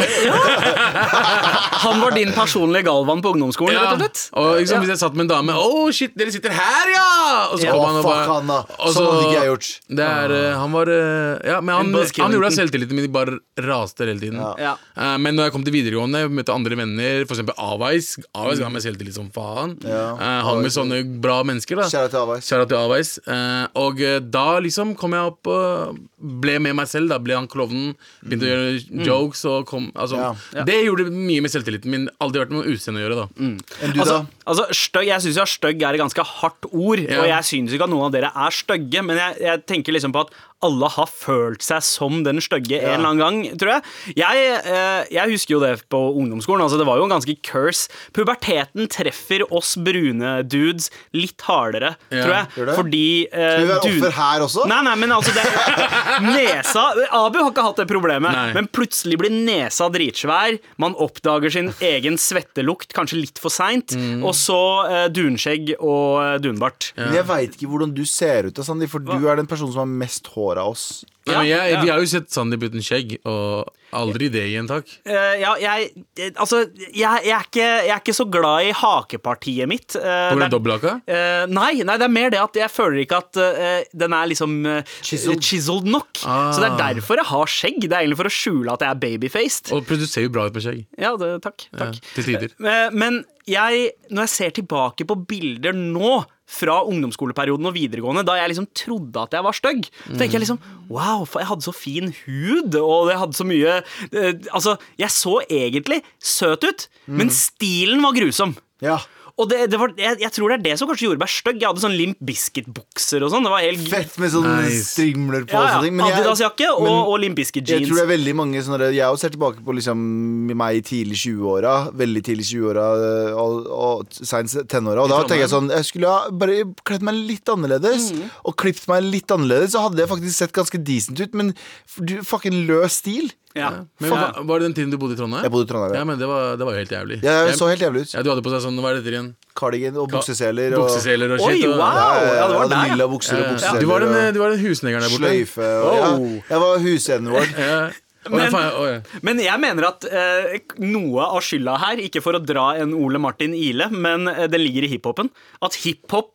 Speaker 2: han var din personlige Galvan på ungdomsskolen, rett og slett?
Speaker 3: Og liksom, Hvis jeg satt med en dame Å, shit, dere sitter her, ja! Og så
Speaker 4: Ja,
Speaker 3: kom han og
Speaker 4: fuck
Speaker 3: bare
Speaker 4: han da.
Speaker 3: og
Speaker 4: Sånn hadde ikke jeg gjort. Ah.
Speaker 3: Det er, øh, han var øh, Ja, men han,
Speaker 2: En Buzz
Speaker 3: han gjorde
Speaker 2: Killington.
Speaker 3: at selvtilliten min bare raste hele tiden.
Speaker 2: Ja.
Speaker 3: Eh, Men når jeg kom til videregående, jeg møtte andre venner, f.eks. Avais. Avais ga meg selvtillit som faen.
Speaker 4: Ja.
Speaker 3: Eh, Han med sånne bra mennesker. da
Speaker 4: Kjære til Avais.
Speaker 3: Kjære til Avais. Eh, Og eh, da liksom kom jeg opp og ble med meg selv. Da ble han klovnen. Begynte å gjøre jokes. Og kom, altså,
Speaker 4: Mm. Ja.
Speaker 3: Det gjorde mye med selvtilliten min. Aldri vært med noe utseende å gjøre. da
Speaker 4: Enn du,
Speaker 2: Altså,
Speaker 4: da?
Speaker 2: altså støgg, Jeg syns stygg er et ganske hardt ord, og jeg syns ikke at noen av dere er stygge, men jeg, jeg tenker liksom på at alle har følt seg som den stygge en eller annen gang, tror jeg. Jeg, eh, jeg husker jo det på ungdomsskolen. Altså, det var jo en ganske curse. Puberteten treffer oss brune dudes litt hardere, tror
Speaker 4: gjør
Speaker 2: jeg.
Speaker 4: det?
Speaker 2: Fordi eh,
Speaker 4: Skal vi være
Speaker 2: dun-
Speaker 4: offer her også?
Speaker 2: Nei, nei, men altså det, Nesa Abu har ikke hatt det problemet,
Speaker 3: Nei.
Speaker 2: men plutselig blir nesa dritsvær. Man oppdager sin egen svettelukt, kanskje litt for seint.
Speaker 3: Mm.
Speaker 2: Og så eh, dunskjegg og eh, dunbart.
Speaker 4: Men jeg veit ikke hvordan du ser ut, da, Sandeep, for du er den personen som har mest hår av oss.
Speaker 3: Nei,
Speaker 2: Ja,
Speaker 3: men jeg,
Speaker 2: ja.
Speaker 3: Vi har jo sett Sandeep uten skjegg, og aldri det igjen, takk.
Speaker 2: Eh, ja, jeg eh, Altså, jeg, jeg, er ikke, jeg er ikke så glad i hakepartiet mitt. Uh,
Speaker 3: På grunn av dobbelthaka?
Speaker 2: Eh, nei, nei, det er mer det at jeg føler ikke at eh, den er liksom eh,
Speaker 4: Chiseled.
Speaker 2: chiseled nok.
Speaker 3: Ah.
Speaker 2: Så det er derfor jeg har skjegg. Det er egentlig for å skjule at jeg er babyfaced.
Speaker 3: Og plutselig ser jo bra ut med skjegg.
Speaker 2: Ja, det, takk,
Speaker 3: Ja,
Speaker 2: takk.
Speaker 3: til tider.
Speaker 2: Eh, Men jeg, når jeg ser tilbake på bilder nå fra ungdomsskoleperioden og videregående, da jeg liksom trodde at jeg var stygg, så tenker jeg liksom Wow, for jeg hadde så fin hud, og jeg hadde så mye eh, Altså, jeg så egentlig søt ut, men stilen var grusom.
Speaker 4: Ja.
Speaker 2: Og det, det var, jeg, jeg tror det er det som kanskje gjorde meg stygg. Jeg hadde sånn Limp Biscuit-bukser og sånn. Det var helt
Speaker 4: Fett med sånne
Speaker 3: Nice.
Speaker 4: strimler på
Speaker 2: ja,
Speaker 4: og
Speaker 2: ja.
Speaker 4: sånne ting. jeg,
Speaker 2: Adidas-jakke og, og Limp
Speaker 4: jeg tror det
Speaker 2: Biscuit-jeans.
Speaker 4: er veldig mange sånne der- Jeg også ser tilbake på liksom meg i tidlig 20-åra. Veldig tidlig 20-åra øh, og, og seint tenåra. Og da tenker jeg sånn Jeg skulle ha bare kledd meg litt annerledes.
Speaker 2: Mm.
Speaker 4: Og klippet meg litt annerledes, så hadde jeg faktisk sett ganske decent ut. Men f- du, fucking løs stil.
Speaker 2: Ja.
Speaker 3: Men
Speaker 2: Faen.
Speaker 3: hva- Var det den tiden du bodde i Trondheim?
Speaker 4: Jeg bodde i Trondheim, ja.
Speaker 3: Ja, men det var, det var jo helt jævlig.
Speaker 4: Jeg
Speaker 3: Jeg-
Speaker 4: så helt jævlig ut.
Speaker 3: ja, Du hadde på deg sånn, hva er dette igjen? Ah,
Speaker 4: Cardigan og bukseseler. Og,
Speaker 3: Bukseseler og
Speaker 2: Oi,
Speaker 3: shit. og-
Speaker 2: wow! Ja, det
Speaker 4: Jeg
Speaker 2: var
Speaker 4: hadde
Speaker 2: der, ja.
Speaker 4: lilla bukser
Speaker 3: Ja,
Speaker 4: og
Speaker 3: ja.
Speaker 4: bukseseler.
Speaker 3: Du var den,
Speaker 4: og-
Speaker 3: eh, du var den husnegeren der borte.
Speaker 4: Sløyfe og ja.
Speaker 2: Oh.
Speaker 4: Jeg var huseneren vår.
Speaker 3: Ja. Å, ja,
Speaker 2: Men,
Speaker 3: faen, ja, å, ja.
Speaker 2: men jeg mener at eh, noe av skylda her, ikke for å dra en Ole Martin Ile, men eh, det ligger i hiphopen. At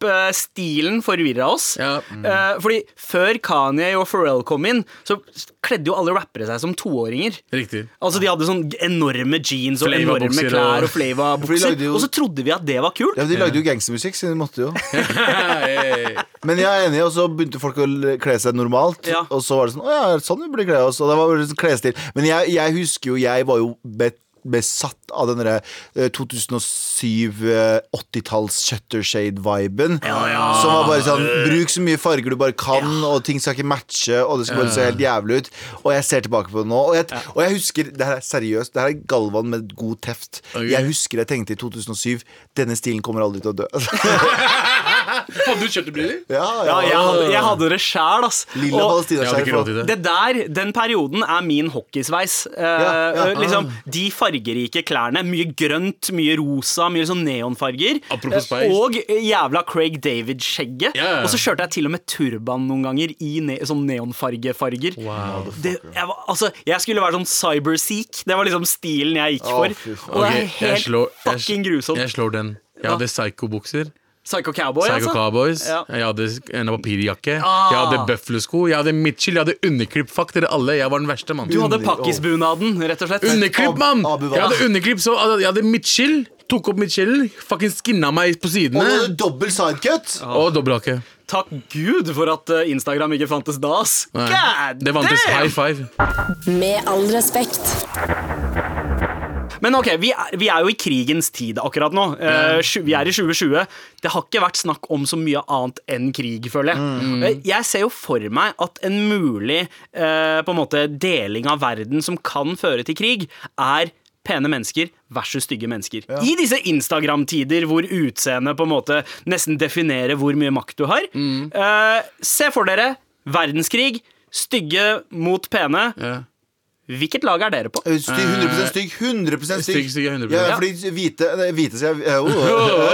Speaker 2: hiphop-stilen forvirra oss.
Speaker 3: Ja. mm.
Speaker 2: Eh, fordi før Kanye og Pharrell kom inn, så kledde jo alle rappere seg som toåringer.
Speaker 3: Riktig.
Speaker 2: Altså De hadde sånn enorme jeans og enorme
Speaker 3: Flava-bukser og-
Speaker 2: klær og flava
Speaker 4: For de
Speaker 2: bukser.
Speaker 4: lagde jo-
Speaker 2: Og så trodde vi at det var kult.
Speaker 4: Ja, men De lagde jo gangstermusikk, så de måtte jo.
Speaker 3: Hei.
Speaker 4: Men jeg er enig, og så begynte folk å l- kle seg normalt.
Speaker 2: Ja.
Speaker 4: Og så var det sånn Å ja, sånn vi burde kle oss. Og det var bare sånn klesstil. Men jeg, jeg husker jo, jeg var jo bet- besatt av den derre eh, 2007-80-talls shuttershade-viben. Som var bare sånn Bruk så mye farger du bare kan, og ting skal ikke matche, og det skal bare se helt jævlig ut. Og jeg ser tilbake på det nå, og jeg, og jeg husker Det her er seriøst, det her er Galvan med god teft.
Speaker 3: Ok.
Speaker 4: Jeg husker jeg tenkte i 2007 Denne stilen kommer aldri til å dø.
Speaker 3: Hadde du kjøttebryr?
Speaker 4: ja,
Speaker 2: Ja, jeg hadde, jeg hadde det sjæl, ass.
Speaker 4: Lilla
Speaker 2: Og-
Speaker 3: Jeg hadde ikke råd til
Speaker 4: palestinaskjerf.
Speaker 3: det.
Speaker 2: Det der, den perioden er min hockeysveis. Eh,
Speaker 4: Ja, ja.
Speaker 3: Ah.
Speaker 2: liksom, de fargerike klærne. Mye grønt, mye rosa, mye sånn neonfarger.
Speaker 3: Apropos
Speaker 2: Eh,
Speaker 3: sveis.
Speaker 2: og jævla Craig David-skjegget.
Speaker 3: Ja, ja.
Speaker 2: Og så kjørte jeg til og med turban noen ganger i ne sånn neonfargefarger. Det, jeg, var, altså, jeg skulle være sånn cyberseek. Det var liksom stilen jeg gikk for.
Speaker 4: Å, fy faen.
Speaker 2: og det
Speaker 3: Ok,
Speaker 2: er
Speaker 3: jeg
Speaker 2: helt
Speaker 3: slår- jeg-
Speaker 2: fucking grusomt.
Speaker 3: Jeg slår den. Jeg hadde psycho-bukser.
Speaker 2: Psycho Cowboy,
Speaker 3: Psycho
Speaker 2: altså.
Speaker 3: Cowboys.
Speaker 2: Ja.
Speaker 3: Jeg hadde en papirjakke.
Speaker 2: Ah.
Speaker 3: Jeg hadde bøflesko. Jeg hadde midtskill. Jeg hadde underklipp. Fuck dere alle. Jeg var den verste, mann.
Speaker 2: Du hadde
Speaker 4: Under-
Speaker 2: pakkisbunaden, rett og slett.
Speaker 3: Underklipp,
Speaker 4: Ab-
Speaker 3: mann!
Speaker 4: Abu var-
Speaker 3: Jeg hadde underklipp, så jeg hadde midtskill. Tok opp midtskillen. Fucking skinna meg på
Speaker 4: Og nå er det
Speaker 3: sidene.
Speaker 4: dobbel sidecut!
Speaker 3: Og dobbelthake.
Speaker 2: Takk Gud for at eh, Instagram ikke fantes da, ass.
Speaker 3: Nei.
Speaker 2: God
Speaker 3: Det vantes
Speaker 2: damn!
Speaker 3: high five.
Speaker 5: Med all respekt.
Speaker 2: Men ok, vi er, vi er jo i krigens tid akkurat nå. Eh, sju- vi er i 2020. Det har ikke vært snakk om så mye annet enn krig, føler jeg. Eh, Jeg ser jo for meg at en mulig eh, på en måte deling av verden som kan føre til krig, er pene mennesker versus stygge mennesker. I disse Instagram-tider hvor utseendet på en måte nesten definerer hvor mye makt du har. Eh, se for dere verdenskrig. Stygge mot pene.
Speaker 3: Ja.
Speaker 2: Hvilket lag er dere på?
Speaker 4: Stygg, 100 stygg. 100 stygg.
Speaker 3: Stygg, stygg, 100%.
Speaker 4: Ja, fordi hvite nei, Hvite, sier jeg. Oh.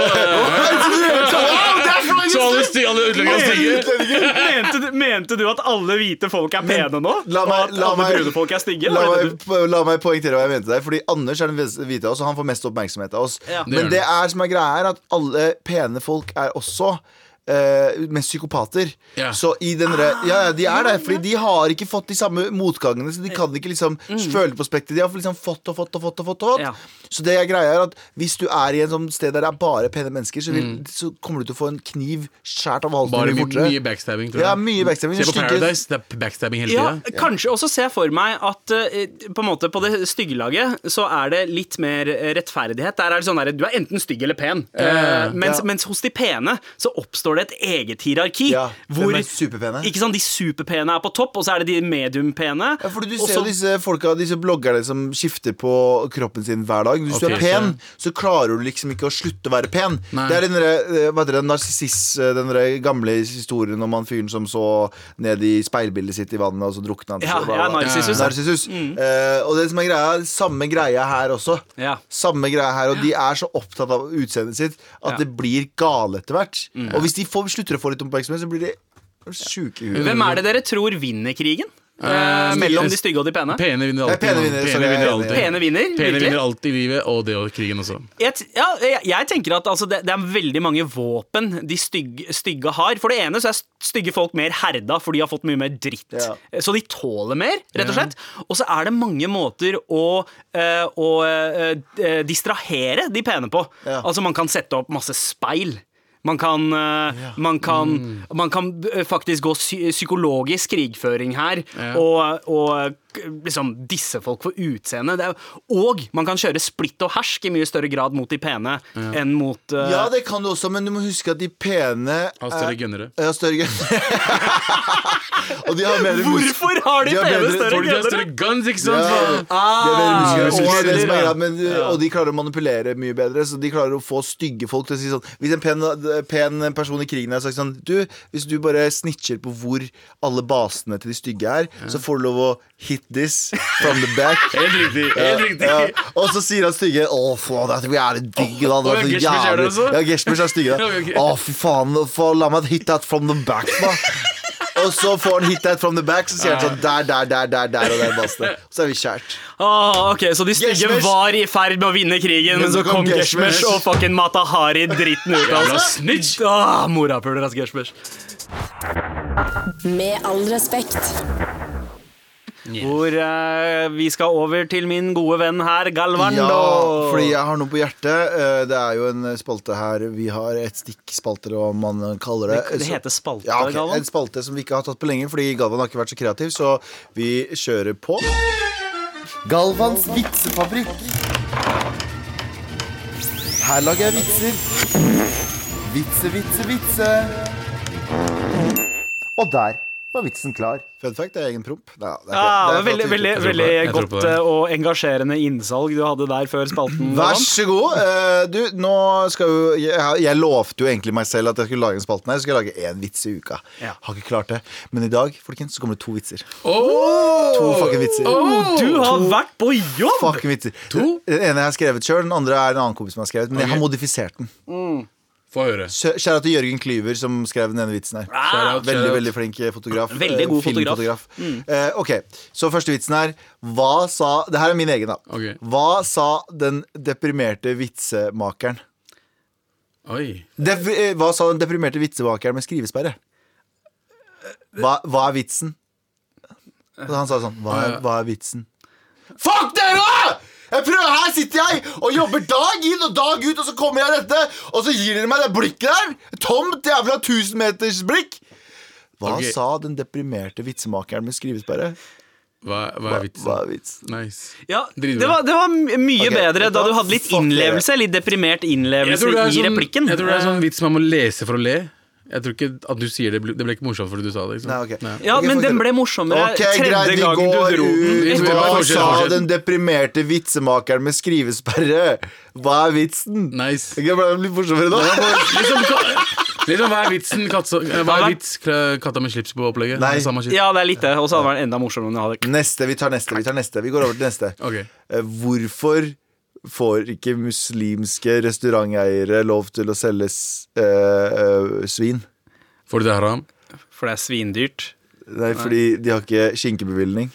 Speaker 4: Wow,
Speaker 3: Så alle, sty- alle utlendinger er stygge.
Speaker 2: Mente du, mente du at alle hvite folk er pene nå?
Speaker 4: la meg-
Speaker 2: og at
Speaker 4: la
Speaker 2: alle
Speaker 4: meg-
Speaker 2: brune folk er stygge?
Speaker 4: La
Speaker 2: Var det
Speaker 4: meg, la meg poengtere hva jeg mente der. Fordi Anders er den ves- hvite av oss, og han får mest oppmerksomhet av oss.
Speaker 2: Ja.
Speaker 4: Men det er som er greia, er at alle pene folk er også eh, mest psykopater.
Speaker 3: Ja.
Speaker 4: Så i den re
Speaker 2: Ah,
Speaker 4: ja, ja, de er det. Fordi de har ikke fått de samme motgangene, så de kan ikke liksom føle på spekter. De har liksom fått og fått og fått. og fått, og fått.
Speaker 2: Mm. Ja.
Speaker 4: Så det jeg greier er at hvis du er i en sånn sted der det er bare pene mennesker, så, vil, så kommer du til å få en kniv skjært av halsen
Speaker 3: Mm. Bare
Speaker 4: mye
Speaker 3: mye,
Speaker 4: fortere.
Speaker 3: mye backstabbing. tror jeg.
Speaker 4: Ja, mye backstabbing.
Speaker 3: Se på
Speaker 4: Stygge-
Speaker 3: Paradise. Det er backstabbing hele
Speaker 2: ja,
Speaker 3: tida.
Speaker 2: kanskje også se for meg at eh, på, en måte på det stygge laget så er det litt mer eh, rettferdighet. Der er det sånn der, Du er enten stygg eller pen. Eh, mens,
Speaker 4: Ja.
Speaker 2: mens hos de pene så oppstår det et eget hierarki.
Speaker 4: Ja, hvem
Speaker 2: hvor
Speaker 4: er superpene?
Speaker 2: ikke sant, De superpene er på topp, og så er det de mediumpene.
Speaker 4: Ja, fordi Du
Speaker 2: og
Speaker 4: ser jo
Speaker 2: så-
Speaker 4: disse, folka, disse bloggerne som skifter på kroppen sin hver dag. Hvis du
Speaker 3: Ok.
Speaker 4: er pen, så klarer du liksom ikke å slutte å være pen.
Speaker 3: Nei.
Speaker 4: Det er den derre, eh, hva heter det, narsissist, eh, den derre gamle historien om han fyren som så ned i speilbildet sitt i vannet, og så drukna han.
Speaker 2: Ja,
Speaker 4: og bla, bla,
Speaker 2: ja,
Speaker 4: bla.
Speaker 2: narsissus.
Speaker 4: Narsissus. Eh, og det som er greia, er samme greia her også.
Speaker 2: Ja.
Speaker 4: Samme greia her, og de er så opptatt av utseendet sitt at
Speaker 2: Ja. Mm.
Speaker 4: det blir gale etter hvert. Og hvis de får, slutter å få litt oppmerksomhet, så blir de sjuke i huet.
Speaker 2: Hvem er det dere tror vinner krigen? Eh,
Speaker 3: Eh,
Speaker 2: mellom de stygge og de pene?
Speaker 3: Pene vinner
Speaker 4: Nei,
Speaker 3: alltid.
Speaker 4: pene
Speaker 3: mann.
Speaker 4: vinner, sorry,
Speaker 3: Pene vinner
Speaker 4: jeg er enig.
Speaker 3: alltid.
Speaker 2: Pene vinner,
Speaker 3: Pene
Speaker 2: virkelig?
Speaker 3: vinner alltid i livet, og det og krigen også.
Speaker 2: jeg, t- ja, jeg, jeg tenker at altså, det, det er veldig mange våpen de stygge, stygge har. For det ene så er stygge folk mer herda, for de har fått mye mer dritt. Eh,
Speaker 4: Ja.
Speaker 2: Så de tåler mer, rett og
Speaker 3: Ja.
Speaker 2: slett. Og så er det mange måter å, eh, å eh, eh, distrahere de pene på.
Speaker 4: Ja.
Speaker 2: Altså, man kan sette opp masse speil. Man kan, eh, man kan, man kan eh, faktisk gå psy psykologisk krigføring her
Speaker 3: Ja.
Speaker 2: og, og k- liksom disse folk for utseende. Det er, og man kan kjøre splitt og hersk i mye større grad mot de pene enn mot eh,
Speaker 4: Ja, det kan du også, men du må huske at de pene
Speaker 3: Har
Speaker 4: er-
Speaker 3: større gønnere.
Speaker 4: Ja, større gun. og de har mer mus-
Speaker 2: Hvorfor har de
Speaker 4: De har
Speaker 2: pene
Speaker 4: bedre-
Speaker 2: større
Speaker 3: Fordi de har
Speaker 2: gønnere?
Speaker 3: større guns, ikke
Speaker 4: Ja,
Speaker 3: sant? faen?
Speaker 4: de har mer
Speaker 3: Ah,
Speaker 4: muskler, og, det er det som er
Speaker 3: muskler, ja.
Speaker 4: greia, men, eh, og de klarer å manipulere mye bedre, så de klarer å få stygge folk til å si sånn Hvis en pen, pen person i krigen har sagt sånn Du, hvis du bare snitcher på hvor alle basene til de stygge er, så får du lov å hit this from the back.
Speaker 3: Helt riktig. helt riktig
Speaker 4: Ja, ja. Og så sier han stygge Å, faen, det er jævlig digg. Det hadde
Speaker 3: Å,
Speaker 4: vært så
Speaker 3: Gershmers er det
Speaker 4: jævlig
Speaker 3: også?
Speaker 4: Ja, Gershmers er stygge.
Speaker 3: Ja,
Speaker 4: da.
Speaker 3: ok.
Speaker 4: Å, fy faen, for, la meg hit that from the back, da. Og Og så får han hit that from the back, så sier han sånn der, der, der, der, der og der. Basta. Så er vi kjært.
Speaker 2: Ah, ok, Så de stygge
Speaker 4: Geshmesh.
Speaker 2: var i ferd med å vinne krigen, men så kom Geshmesh og fucking Matahari dritten ut av oss. Snitch! Ah, Morapuler, ass, Geshmesh.
Speaker 5: Med all respekt.
Speaker 2: Hvor eh, vi skal over til min gode venn her, Galvando.
Speaker 4: Ja, fordi jeg har noe på hjertet. Eh, Det er jo en spalte her. Vi har et stikk spalte, eller hva man kaller det.
Speaker 2: Det heter spalte,
Speaker 4: Ja, ok, En
Speaker 2: Galvan.
Speaker 4: spalte som vi ikke har tatt på lenge, fordi Galvan har ikke vært så kreativ, så vi kjører på. Galvans vitsefabrikk. Her lager jeg vitser. Vitse, vitse, vitse. Og der var vitsen klar. Fun fact, det er egen promp. Nei, det er ikke-
Speaker 2: Ja,
Speaker 4: det er
Speaker 2: det var Ah, veldig
Speaker 4: fra
Speaker 2: veldig,
Speaker 4: Twitter.
Speaker 2: veldig
Speaker 3: Jeg tror på det.
Speaker 2: godt eh, og engasjerende innsalg du hadde der før spalten. Galvan.
Speaker 4: Vær så god. Eh, Du, nå skal jo jeg, jeg lovte jo egentlig meg selv at jeg skulle lage en spalten her. Så skal jeg lage én vits i uka.
Speaker 2: Ja.
Speaker 4: Har ikke klart det. Men i dag folkens, så kommer det to vitser.
Speaker 3: Oh!
Speaker 4: To fucking vitser.
Speaker 2: Du har vært på jobb!
Speaker 4: Fucking vitser. Den ene jeg har skrevet sjøl, den andre er en annen kompis som har skrevet. Men jeg har modifisert den.
Speaker 3: Få høre.
Speaker 4: Kjæ- Kjære til Jørgen Klyver, som skrev den ene vitsen her.
Speaker 2: Ah!
Speaker 3: Shout out,
Speaker 4: Veldig
Speaker 3: shout out.
Speaker 4: veldig flink fotograf.
Speaker 2: Veldig god
Speaker 4: Eh, filmfotograf. Eh, ok, Så første vitsen her. Hva sa Det her er min egen, da.
Speaker 3: Ok.
Speaker 4: Hva sa den deprimerte vitsemakeren?
Speaker 3: Oi.
Speaker 4: Def, eh, hva sa den deprimerte vitsemakeren med skrivesperre? Hva, hva er vitsen? Og han sa sånn Hva er, hva er vitsen? Fuck dere! Jeg prøver, Her sitter jeg og jobber dag inn og dag ut, og så kommer jeg dette, og så gir dere meg det blikket der! Tomt jævla tusenmetersblikk! Hva
Speaker 3: Ok.
Speaker 4: sa den deprimerte vitsemakeren med skrivesperre?
Speaker 3: Hva, hva
Speaker 4: Hva,
Speaker 3: er
Speaker 4: hva
Speaker 3: vitsen?
Speaker 4: er vitsen?
Speaker 3: Nice.
Speaker 2: Ja,
Speaker 3: Dritbra.
Speaker 2: det var, det var my- mye
Speaker 4: Ok,
Speaker 2: bedre
Speaker 4: vet du
Speaker 2: da
Speaker 4: hva?
Speaker 2: du hadde litt
Speaker 4: Fuck
Speaker 2: innlevelse, litt deprimert
Speaker 3: Jeg
Speaker 2: innlevelse
Speaker 3: tror, det
Speaker 2: i
Speaker 3: er sånn,
Speaker 2: replikken.
Speaker 3: jeg tror det er sånn vits man må lese for å le. Jeg tror ikke at du sier det ble- Det ble ikke morsomt fordi du sa det. Liksom.
Speaker 4: Nei, ok.
Speaker 2: Ja,
Speaker 4: Ok,
Speaker 2: men
Speaker 4: fuck
Speaker 2: den
Speaker 4: it.
Speaker 2: ble morsommere
Speaker 4: Ok,
Speaker 2: tredje
Speaker 4: greit, vi
Speaker 2: gangen du
Speaker 4: går
Speaker 2: dro den.
Speaker 4: ut.
Speaker 3: Vi
Speaker 2: Etter-
Speaker 3: går-
Speaker 4: Hva
Speaker 3: Fortsett,
Speaker 4: sa
Speaker 3: fortsett.
Speaker 4: den deprimerte vitsemakeren med skrivesperre? Hva er vitsen?
Speaker 3: Nice.
Speaker 4: Jeg ble litt morsommere nå.
Speaker 3: Liksom, ka- liksom, hva er vitsen katta, Hva er
Speaker 2: Hva er-
Speaker 3: vits kla- katta med slips på opplegget?
Speaker 4: Nei.
Speaker 3: Det er Samme shit.
Speaker 2: Ja, det er litt det. Og så hadde det vært enda morsommere om du hadde
Speaker 4: Neste, vi tar neste, vi tar neste. Vi går over til neste.
Speaker 3: Ok.
Speaker 4: Eh, Hvorfor får ikke muslimske restauranteiere lov til å selge s- eh, eh, svin?
Speaker 3: Fordi det er haram?
Speaker 2: For det er svindyrt.
Speaker 4: Nei, fordi de har ikke skinkebevilgning.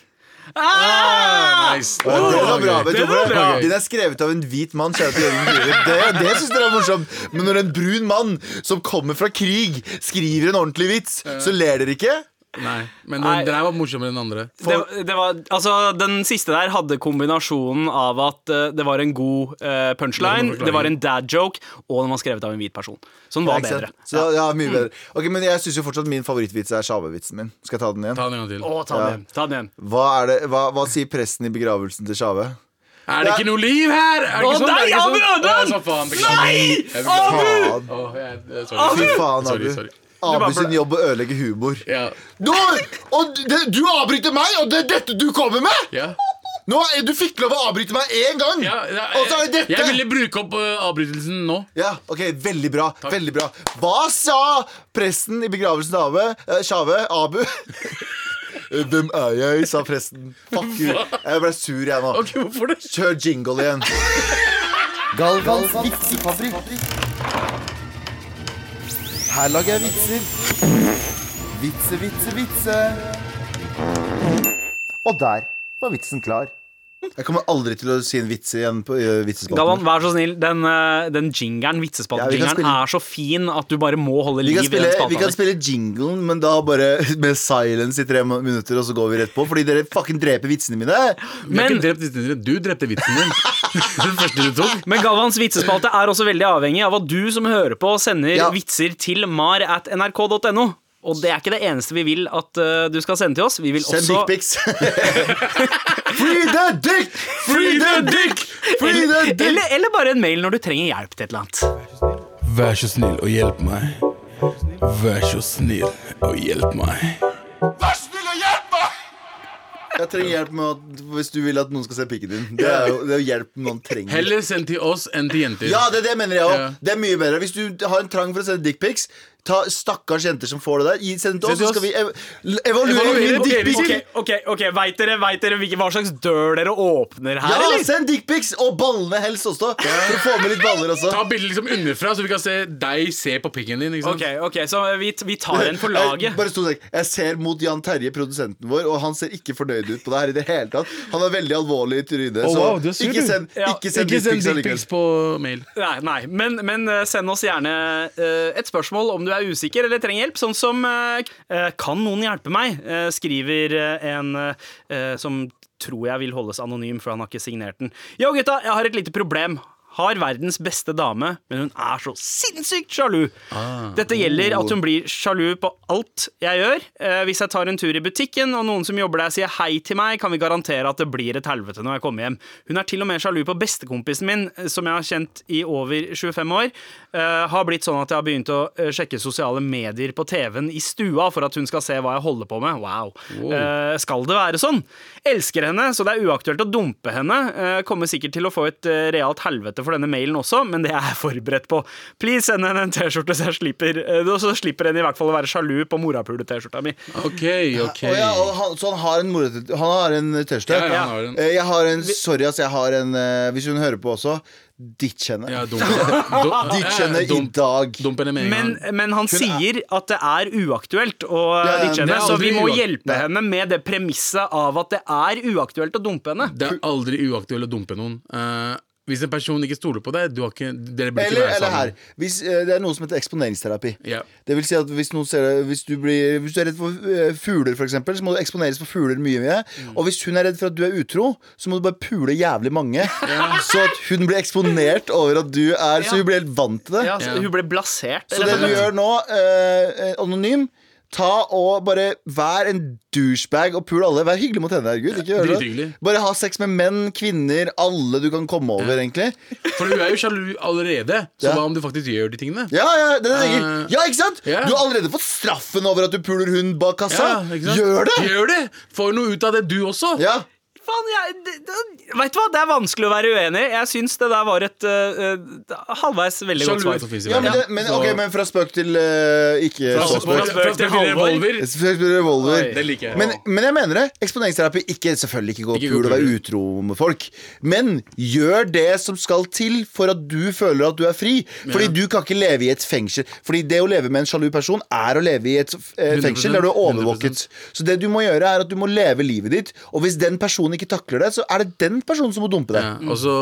Speaker 2: Ah!
Speaker 3: Nice.
Speaker 4: Ja, det var bra, vet du
Speaker 2: Det var
Speaker 4: hvorfor
Speaker 2: bra.
Speaker 4: det? Den er skrevet av en hvit mann. kjære til Jørgen Klyve. Det, det syns dere er morsomt. Men når en brun mann som kommer fra krig, skriver en ordentlig vits, så ler dere ikke.
Speaker 3: Nei. Men
Speaker 2: Nei.
Speaker 3: den, den her var morsommere enn den andre.
Speaker 2: det, det var, altså, den siste der hadde kombinasjonen av at eh, det var en god eh, punchline, det var en dad joke, og den var skrevet av en hvit person. Så den var
Speaker 4: Ikke sant?
Speaker 2: bedre.
Speaker 4: Så, ja, mye bedre. Ok, Men jeg syns jo fortsatt min favorittvits er sjavevitsen min. Skal jeg ta den igjen?
Speaker 3: Ta den en gang til.
Speaker 2: Å, ta den igjen. Ta den igjen.
Speaker 4: Hva, er det, hva, hva sier presten i begravelsen til Sjave?
Speaker 3: Er det ikke noe liv her? Er det
Speaker 2: Å,
Speaker 3: ikke sånn?
Speaker 2: nei,
Speaker 3: Er det ikke
Speaker 2: Abu,
Speaker 3: sånn?
Speaker 2: Abu!
Speaker 3: Å, så faen, beklager.
Speaker 2: Nei!
Speaker 3: Jeg beklager.
Speaker 4: Faen.
Speaker 3: Å, jeg- jeg- sorry.
Speaker 4: Fy faen,
Speaker 3: Sorry,
Speaker 4: Abu.
Speaker 3: sorry.
Speaker 4: Abu sin jobb å ødelegge humor.
Speaker 3: Ja.
Speaker 4: Du, og det- du avbryter meg, og det er dette du kommer med?!
Speaker 3: ja.
Speaker 4: Nå, er- du fikk lov å avbryte meg én gang!
Speaker 3: ja, ja
Speaker 4: Og så er det
Speaker 3: Jeg
Speaker 4: dette!
Speaker 3: ville bruke opp eh, avbrytelsen nå.
Speaker 4: Ja, ok, Veldig bra. veldig bra Hva sa presten i begravelsen til Abe? Eh, Sjave? Abu? Hvem er jeg? sa presten. Fuck you. Jeg ble sur, jeg nå.
Speaker 3: Ok, hvorfor det?
Speaker 4: Kjør jingle igjen. Galvans vitsefabrikk. Her lager jeg vitser. Vitse, vitse, vitse. Og der var vitsen klar. Jeg kommer aldri til å si en vits igjen på uh,
Speaker 2: Galvan,
Speaker 4: vitsespalten.
Speaker 2: vær så snill. Den, eh, den jingeren,
Speaker 4: Ja, vi kan
Speaker 2: vitsespalten-jingeren,
Speaker 4: spille-
Speaker 2: er så fin at du bare må holde
Speaker 4: Vi
Speaker 2: liv i
Speaker 4: kan, spille,
Speaker 2: den
Speaker 4: vi kan
Speaker 2: spalten.
Speaker 4: spille jinglen, men da bare med silence i tre mu- minutter, og så går vi rett på. Fordi dere fucking dreper vitsene mine.
Speaker 3: Jeg har
Speaker 2: Men
Speaker 3: ikke drept vitsen din. Du drepte vitsen din. Den første du tok.
Speaker 2: Men Galvans vitsespalte er også veldig avhengig av at du som hører på, sender
Speaker 4: Ja.
Speaker 2: vitser til mar at nrk.no. Og det er ikke det eneste vi vil at eh, du skal sende til oss. Vi vil
Speaker 4: Send
Speaker 2: også
Speaker 4: dickpics. Free the dick! Free the dick! Free the
Speaker 2: eller,
Speaker 4: dick!
Speaker 2: eller, eller bare en mail når du trenger hjelp til et eller annet.
Speaker 1: Vær så snill og hjelp meg. Vær så snill og hjelp meg.
Speaker 4: Jeg trenger hjelp med at, hvis du vil at noen skal se pikken din. Det er jo, det er jo hjelp noen trenger.
Speaker 3: Heller send til oss enn til jenter.
Speaker 4: Ja, det, er det jeg mener jeg òg.
Speaker 3: Ja.
Speaker 4: Det er mye bedre. Hvis du har en trang for å sende dickpics, Ta stakkars jenter som får det der. Gi- Send det til oss,
Speaker 3: Send
Speaker 4: så
Speaker 3: til
Speaker 4: skal vi
Speaker 3: oss.
Speaker 4: ev evaluere
Speaker 3: Evaluere
Speaker 4: mine
Speaker 3: på
Speaker 4: dickpics.
Speaker 2: Ok, ok, ok, Veit dere, vet dere hvilke, hva slags dør dere åpner her,
Speaker 4: Ja,
Speaker 2: eller?
Speaker 4: send dickpics! Og ballene helst også. For å få med litt baller også.
Speaker 3: Ta bildet liksom underfra, så vi kan se deg se på pikken din. ikke sant?
Speaker 2: Ok, ok, Så vi, vi tar en for
Speaker 4: Jeg,
Speaker 2: laget.
Speaker 4: bare stod der. jeg ser mot Jan Terje, produsenten vår, og han ser ikke fornøyd ut på det her i det hele tatt. Han er veldig alvorlig i trynet,
Speaker 3: Å,
Speaker 4: så
Speaker 3: wow, du er sur,
Speaker 4: ikke
Speaker 3: du.
Speaker 4: send,
Speaker 2: Ja,
Speaker 4: ikke send
Speaker 3: Ikke send
Speaker 4: dickpics allikevel.
Speaker 3: dickpics på mail.
Speaker 2: Nei, nei, men, men eh, send oss gjerne eh, et spørsmål om du er usikker eller trenger hjelp. Sånn som eh, eh, Kan noen hjelpe meg? eh, skriver eh, en eh, som tror jeg vil holdes anonym, for han har ikke signert den. Yo, gutta, jeg har et lite problem. Har verdens beste dame, men hun er så sinnssykt sjalu. Dette gjelder at hun blir sjalu på alt jeg gjør. Eh, hvis jeg tar en tur i butikken og noen som jobber der sier hei til meg, kan vi garantere at det blir et helvete når jeg kommer hjem. Hun er til og med sjalu på bestekompisen min, eh, som jeg har kjent i over 25 år. Eh, har blitt sånn at jeg har begynt å eh, sjekke sosiale medier på TV-en i stua for at hun skal se hva jeg holder på med. Wow. Eh, skal det være sånn? Elsker henne, så det er uaktuelt å dumpe henne. Eh, kommer sikkert til å få et eh, realt helvete for denne mailen også, men det er jeg forberedt på. Please send henne en T-skjorte, så jeg slipper eh, så slipper henne i hvert fall å være sjalu på morapule-T-skjorta mi.
Speaker 3: Ok, ok.
Speaker 4: Å ja, og han, så han har en morete- Han har en T-skjorte?
Speaker 3: Ja, ja, han har en.
Speaker 4: Eh, Jeg har en Sorry, ass. Jeg har en eh, Hvis hun hører på også, ditch henne.
Speaker 3: Ja, Eh, dump henne.
Speaker 4: Ditch henne i dag.
Speaker 3: Dump henne med en
Speaker 2: Men,
Speaker 3: gang.
Speaker 2: men han sier at det er uaktuelt å
Speaker 4: Ja, ja,
Speaker 2: ditche
Speaker 4: det
Speaker 2: henne,
Speaker 3: er
Speaker 2: så vi
Speaker 3: aldri
Speaker 2: må
Speaker 3: uakt-
Speaker 2: hjelpe henne med det premisset av at det er uaktuelt å dumpe henne.
Speaker 3: Det er aldri uaktuelt å dumpe noen. Eh, hvis en person ikke stoler på deg, du har ikke, dere burde
Speaker 4: Eller,
Speaker 3: ikke være
Speaker 4: eller her.
Speaker 3: sammen.
Speaker 4: Hvis, eh, det er noe som heter eksponeringsterapi.
Speaker 3: Ja.
Speaker 4: Det vil si at hvis, noen ser, deg- hvis, du, blir, hvis du er redd for eh, fugler, for eksempel, så må du eksponeres for fugler mye. mye.
Speaker 3: Mm.
Speaker 4: Og hvis hun er redd for at du er utro, så må du bare pule jævlig mange. Så at hun blir eksponert over at du er Så hun blir helt vant til det.
Speaker 2: Ja, så
Speaker 3: Ja.
Speaker 2: Hun ble blasert. rett
Speaker 4: Så det
Speaker 2: og
Speaker 4: du
Speaker 2: slett.
Speaker 4: gjør nå, eh, eh, anonym Ta og bare Vær en douchebag og pul alle. Vær hyggelig mot henne. herregud ikke gjør det.
Speaker 3: Drithyggelig.
Speaker 4: Bare ha sex med menn, kvinner, alle du kan komme over, egentlig.
Speaker 3: For du er jo sjalu allerede, så
Speaker 4: Ja.
Speaker 3: hva om du faktisk gjør de tingene?
Speaker 4: Ja, ja, det er det jeg tenker.
Speaker 3: Eh,
Speaker 4: ja, ikke sant?
Speaker 3: ja.
Speaker 4: Du har allerede fått straffen over at du puler hun bak kassa.
Speaker 3: ikke sant?
Speaker 4: Gjør det!
Speaker 3: Gjør det! Får noe ut av det, du også.
Speaker 4: Ja.
Speaker 2: Faen, jeg, det, det, vet du hva? Det er vanskelig å være uenig. i. Jeg syns det der var et øh, øh, halvveis veldig
Speaker 3: Sjalu
Speaker 2: godt
Speaker 3: er som
Speaker 2: svar.
Speaker 3: finnes i
Speaker 4: Ja, men,
Speaker 3: verden.
Speaker 4: det, men,
Speaker 3: Så-
Speaker 4: ok, men fra spøk til eh, ikke
Speaker 3: Fra
Speaker 4: så
Speaker 3: spøk- fra
Speaker 2: spøk
Speaker 4: spøk.
Speaker 3: spøk
Speaker 2: til
Speaker 3: til revolver.
Speaker 4: Fra Spøk til revolver.
Speaker 2: Oi.
Speaker 3: Det liker jeg.
Speaker 4: Men, men jeg mener det. Eksponeringsterapi ikke, selvfølgelig ikke gå og
Speaker 3: Ikke
Speaker 4: pule og
Speaker 3: gå og
Speaker 4: være
Speaker 3: pule.
Speaker 4: utro med folk. Men gjør det som skal til for at du føler at du er fri. Fordi du kan ikke leve i et fengsel. Fordi det å leve med en sjalu person er å leve i et eh, fengsel
Speaker 3: 100%,
Speaker 4: der du er overvåket.
Speaker 3: 100%.
Speaker 4: Så det du må gjøre, er at du må leve livet ditt. Og hvis den personen ikke takler det, så er det den personen som må dumpe
Speaker 3: Ja,
Speaker 4: deg.
Speaker 3: og så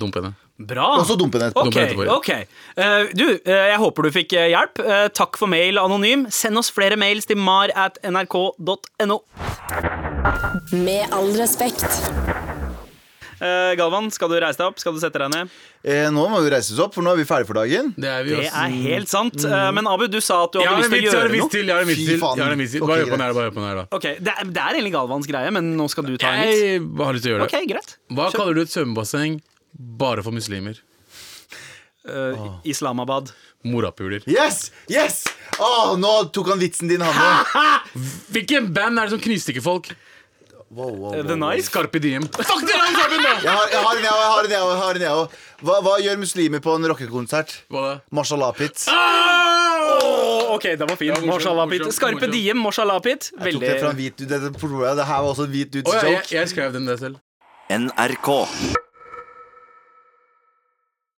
Speaker 3: dump henne.
Speaker 2: Bra.
Speaker 4: Og så dumpe den etterpå.
Speaker 2: Ok,
Speaker 3: Dumpe etterpå, ja.
Speaker 2: ok. Eh, du, eh, jeg håper du fikk eh, hjelp. Eh, takk for mail, anonym. Send oss flere mails til mar at nrk.no.
Speaker 5: Med all respekt.
Speaker 2: Eh, Galvan, skal du reise deg opp? Skal du sette deg ned?
Speaker 4: Eh, nå må vi reise oss opp, for nå er vi ferdig for dagen.
Speaker 3: Det er vi
Speaker 2: Det
Speaker 3: også.
Speaker 2: er helt sant. Eh, men Abu, du sa at du
Speaker 3: Jeg
Speaker 2: hadde
Speaker 3: har en
Speaker 2: lyst til
Speaker 3: vits,
Speaker 2: å
Speaker 3: jeg har en
Speaker 2: gjøre
Speaker 3: vits
Speaker 2: noe.
Speaker 3: til! Jeg har en vits
Speaker 4: Fy
Speaker 3: til.
Speaker 4: faen.
Speaker 3: Jeg har en vits til.
Speaker 4: Ok,
Speaker 3: Bare hør på den
Speaker 4: greit.
Speaker 3: her. bare hør på den her da
Speaker 2: Ok, det, er, det er egentlig Galvans greie, men nå skal du ta en vits.
Speaker 3: Jeg har lyst til å gjøre
Speaker 2: Ok,
Speaker 3: det.
Speaker 2: greit.
Speaker 3: Hva kaller du et svømmebasseng bare for muslimer?
Speaker 4: Ah.
Speaker 2: Eh, Islamabad.
Speaker 3: Morapuler.
Speaker 4: Yes! Yes! Åh, nå tok han vitsen din, Hanne.
Speaker 3: Hvilken band er det som knivstikker folk?
Speaker 4: Wow, wow,
Speaker 2: Eh,
Speaker 4: wow.
Speaker 2: The Nice.
Speaker 3: Skarpe Diem. Fuck dere, alle sammen! da!
Speaker 4: Jeg har, jeg har en, jeg har- jeg har en, jeg har en, jeg har en, jeg har en. Hva, hva gjør muslimer på en rockekonsert?
Speaker 3: Hva da?
Speaker 4: Mashallah-pit.
Speaker 2: Åh, ok, den var fin.
Speaker 3: morsom,
Speaker 2: Mashallah Pit.
Speaker 3: morsom,
Speaker 2: Skarpe
Speaker 3: morsom.
Speaker 2: diem, mashallah Pit.
Speaker 4: Jeg tok det fra en
Speaker 2: Veldig
Speaker 4: hvit dude. Dette, tror jeg- det her var også en hvit
Speaker 3: Å,
Speaker 4: dudes
Speaker 3: ja, jeg,
Speaker 4: joke.
Speaker 3: jeg skrev den der selv.
Speaker 7: NRK.